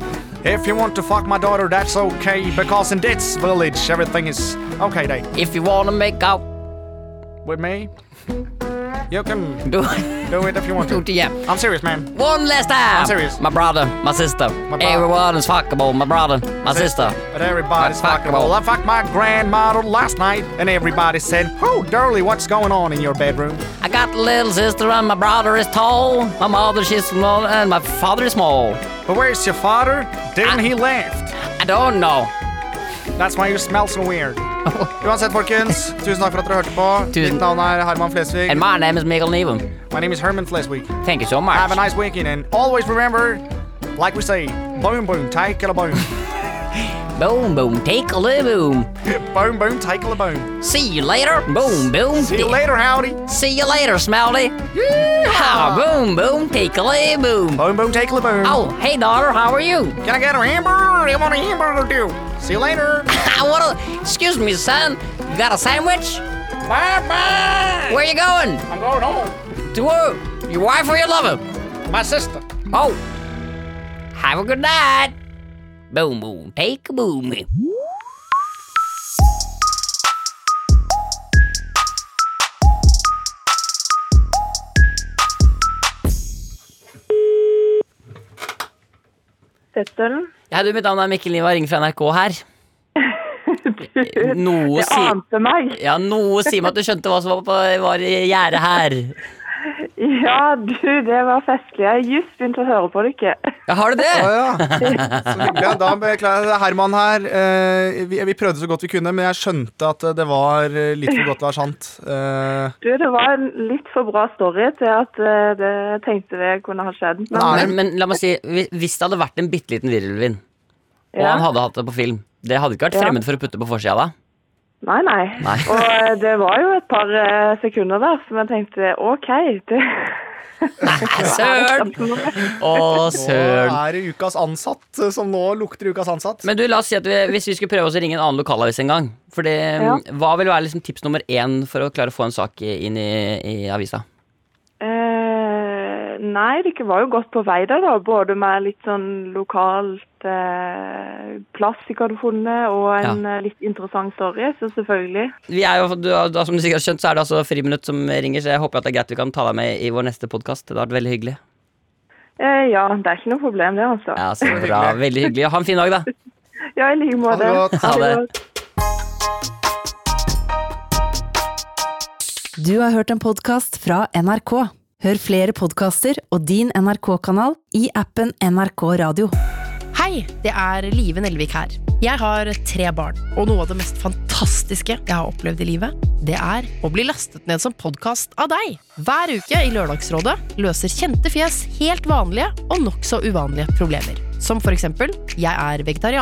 [SPEAKER 2] If you want to fuck my daughter, that's okay because in this village everything is okay, day.
[SPEAKER 3] If you wanna make out,
[SPEAKER 2] With me, you can
[SPEAKER 3] do it.
[SPEAKER 2] do it if you want
[SPEAKER 3] Do
[SPEAKER 2] to.
[SPEAKER 3] it, yeah.
[SPEAKER 2] I'm serious, man.
[SPEAKER 3] One last time.
[SPEAKER 2] I'm serious.
[SPEAKER 3] My brother, my sister,
[SPEAKER 2] brother.
[SPEAKER 3] everyone is fuckable. My brother, my sister.
[SPEAKER 2] But everybody's
[SPEAKER 3] Fuck
[SPEAKER 2] fucking well.
[SPEAKER 3] all.
[SPEAKER 2] I fucked my grandmother last night, and everybody said, "Oh, Darlie, what's going on in your bedroom?"
[SPEAKER 3] I got a little sister and my brother is tall. My mother she's small and my father is small.
[SPEAKER 2] But where's your father?
[SPEAKER 3] Ah.
[SPEAKER 2] Didn't he left?
[SPEAKER 3] I don't know.
[SPEAKER 2] That's why you smell so weird. Uansett, folkens, tusen takk for at dere hørte på.
[SPEAKER 3] Tusen-
[SPEAKER 2] Mitt navn er Herman Flesvig.
[SPEAKER 3] And my name is Mikael Niven.
[SPEAKER 2] My name is Herman Flesvig.
[SPEAKER 3] Thank you so much.
[SPEAKER 2] Have a nice weekend, and always remember, like we say, boom boom, take a boom,
[SPEAKER 3] boom, boom, take a little boom.
[SPEAKER 2] boom boom, take a boom.
[SPEAKER 3] See you later. Boom, boom.
[SPEAKER 2] See you later, howdy.
[SPEAKER 3] See you later, Smelly. Ha, boom, boom, tickly, boom.
[SPEAKER 2] Boom boom, take a boom.
[SPEAKER 3] Oh, hey, daughter, how are you?
[SPEAKER 2] Can I get a hamburger? I want a hamburger too. See you later.
[SPEAKER 3] I wanna. Excuse me, son. You got a sandwich?
[SPEAKER 2] bye bye.
[SPEAKER 3] Where you going?
[SPEAKER 2] I'm going home.
[SPEAKER 3] To uh, your wife or your lover?
[SPEAKER 2] My sister.
[SPEAKER 3] Oh, have a good night. Boom, boom, take a boom.
[SPEAKER 5] Settel.
[SPEAKER 3] Ja, du, mitt navn er Mikkel Niva, ringer fra NRK her. Noe
[SPEAKER 5] Det
[SPEAKER 3] sier
[SPEAKER 5] ante meg.
[SPEAKER 3] ja, noe sier meg at du skjønte hva som var, på, var i gjerdet her.
[SPEAKER 5] Ja, du, det var festlig. Jeg har just begynt å høre på dere.
[SPEAKER 3] Ja, har du det?
[SPEAKER 2] Å ja. Så hyggelig. Da beklager jeg. Det er Herman her. Eh, Vi, vi prøvde så godt vi kunne, men jeg skjønte at det var eh, litt for godt til å være sant. Eh,
[SPEAKER 5] Du, det var en litt for bra story til at eh, det jeg tenkte det kunne ha skjedd.
[SPEAKER 2] Nei.
[SPEAKER 3] Men, men la meg si, hvi- hvis det hadde vært en bitte liten virvelvind, og
[SPEAKER 5] Ja.
[SPEAKER 3] han hadde hatt det på film, det hadde ikke vært
[SPEAKER 5] Ja.
[SPEAKER 3] fremmed for å putte på forsida da?
[SPEAKER 5] Nei, nei.
[SPEAKER 3] Nei.
[SPEAKER 5] Og eh, det var jo et par eh, sekunder der som jeg tenkte OK, det
[SPEAKER 3] Nei, søren! Å,
[SPEAKER 2] nå
[SPEAKER 3] søren.
[SPEAKER 2] er det Ukas ansatt, eh, som nå lukter Ukas ansatt.
[SPEAKER 3] Men du, la oss si at vi, hvis vi skulle prøve oss å ringe en annen lokalavis en gang, for det,
[SPEAKER 5] Ja.
[SPEAKER 3] hva vil være liksom tips nummer én for å klare å få en sak i- inn i, i avisa?
[SPEAKER 5] Eh, nei, dere var jo godt på vei der, da. Både med litt sånn lokalt eh, plass dere hadde funnet, og en eh, litt interessant story. Så selvfølgelig.
[SPEAKER 3] Vi er jo, du, har- da, som du sikkert har skjønt, så er det altså Friminutt som ringer, så jeg håper at det er greit vi kan ta deg med i vår neste podkast. Det hadde vært veldig hyggelig.
[SPEAKER 5] Eh, ja, det er ikke noe problem det, altså.
[SPEAKER 3] Ja, så bra. Veldig hyggelig. Ha en fin dag, da.
[SPEAKER 5] Ja, i like
[SPEAKER 2] Ha
[SPEAKER 5] måte.
[SPEAKER 2] det godt.
[SPEAKER 3] Ha det.
[SPEAKER 1] Du har hørt en podkast fra NRK. Hør flere podkaster og din NRK-kanal i appen NRK Radio.
[SPEAKER 6] Hei, det er Live Nelvik her. Jeg har tre barn, og noe av det mest fantastiske jeg har opplevd i livet, det er å bli lastet ned som podkast av deg. Hver uke i Lørdagsrådet løser kjente fjes helt vanlige og nokså uvanlige problemer. Som for eksempel, jeg er vegetarianer.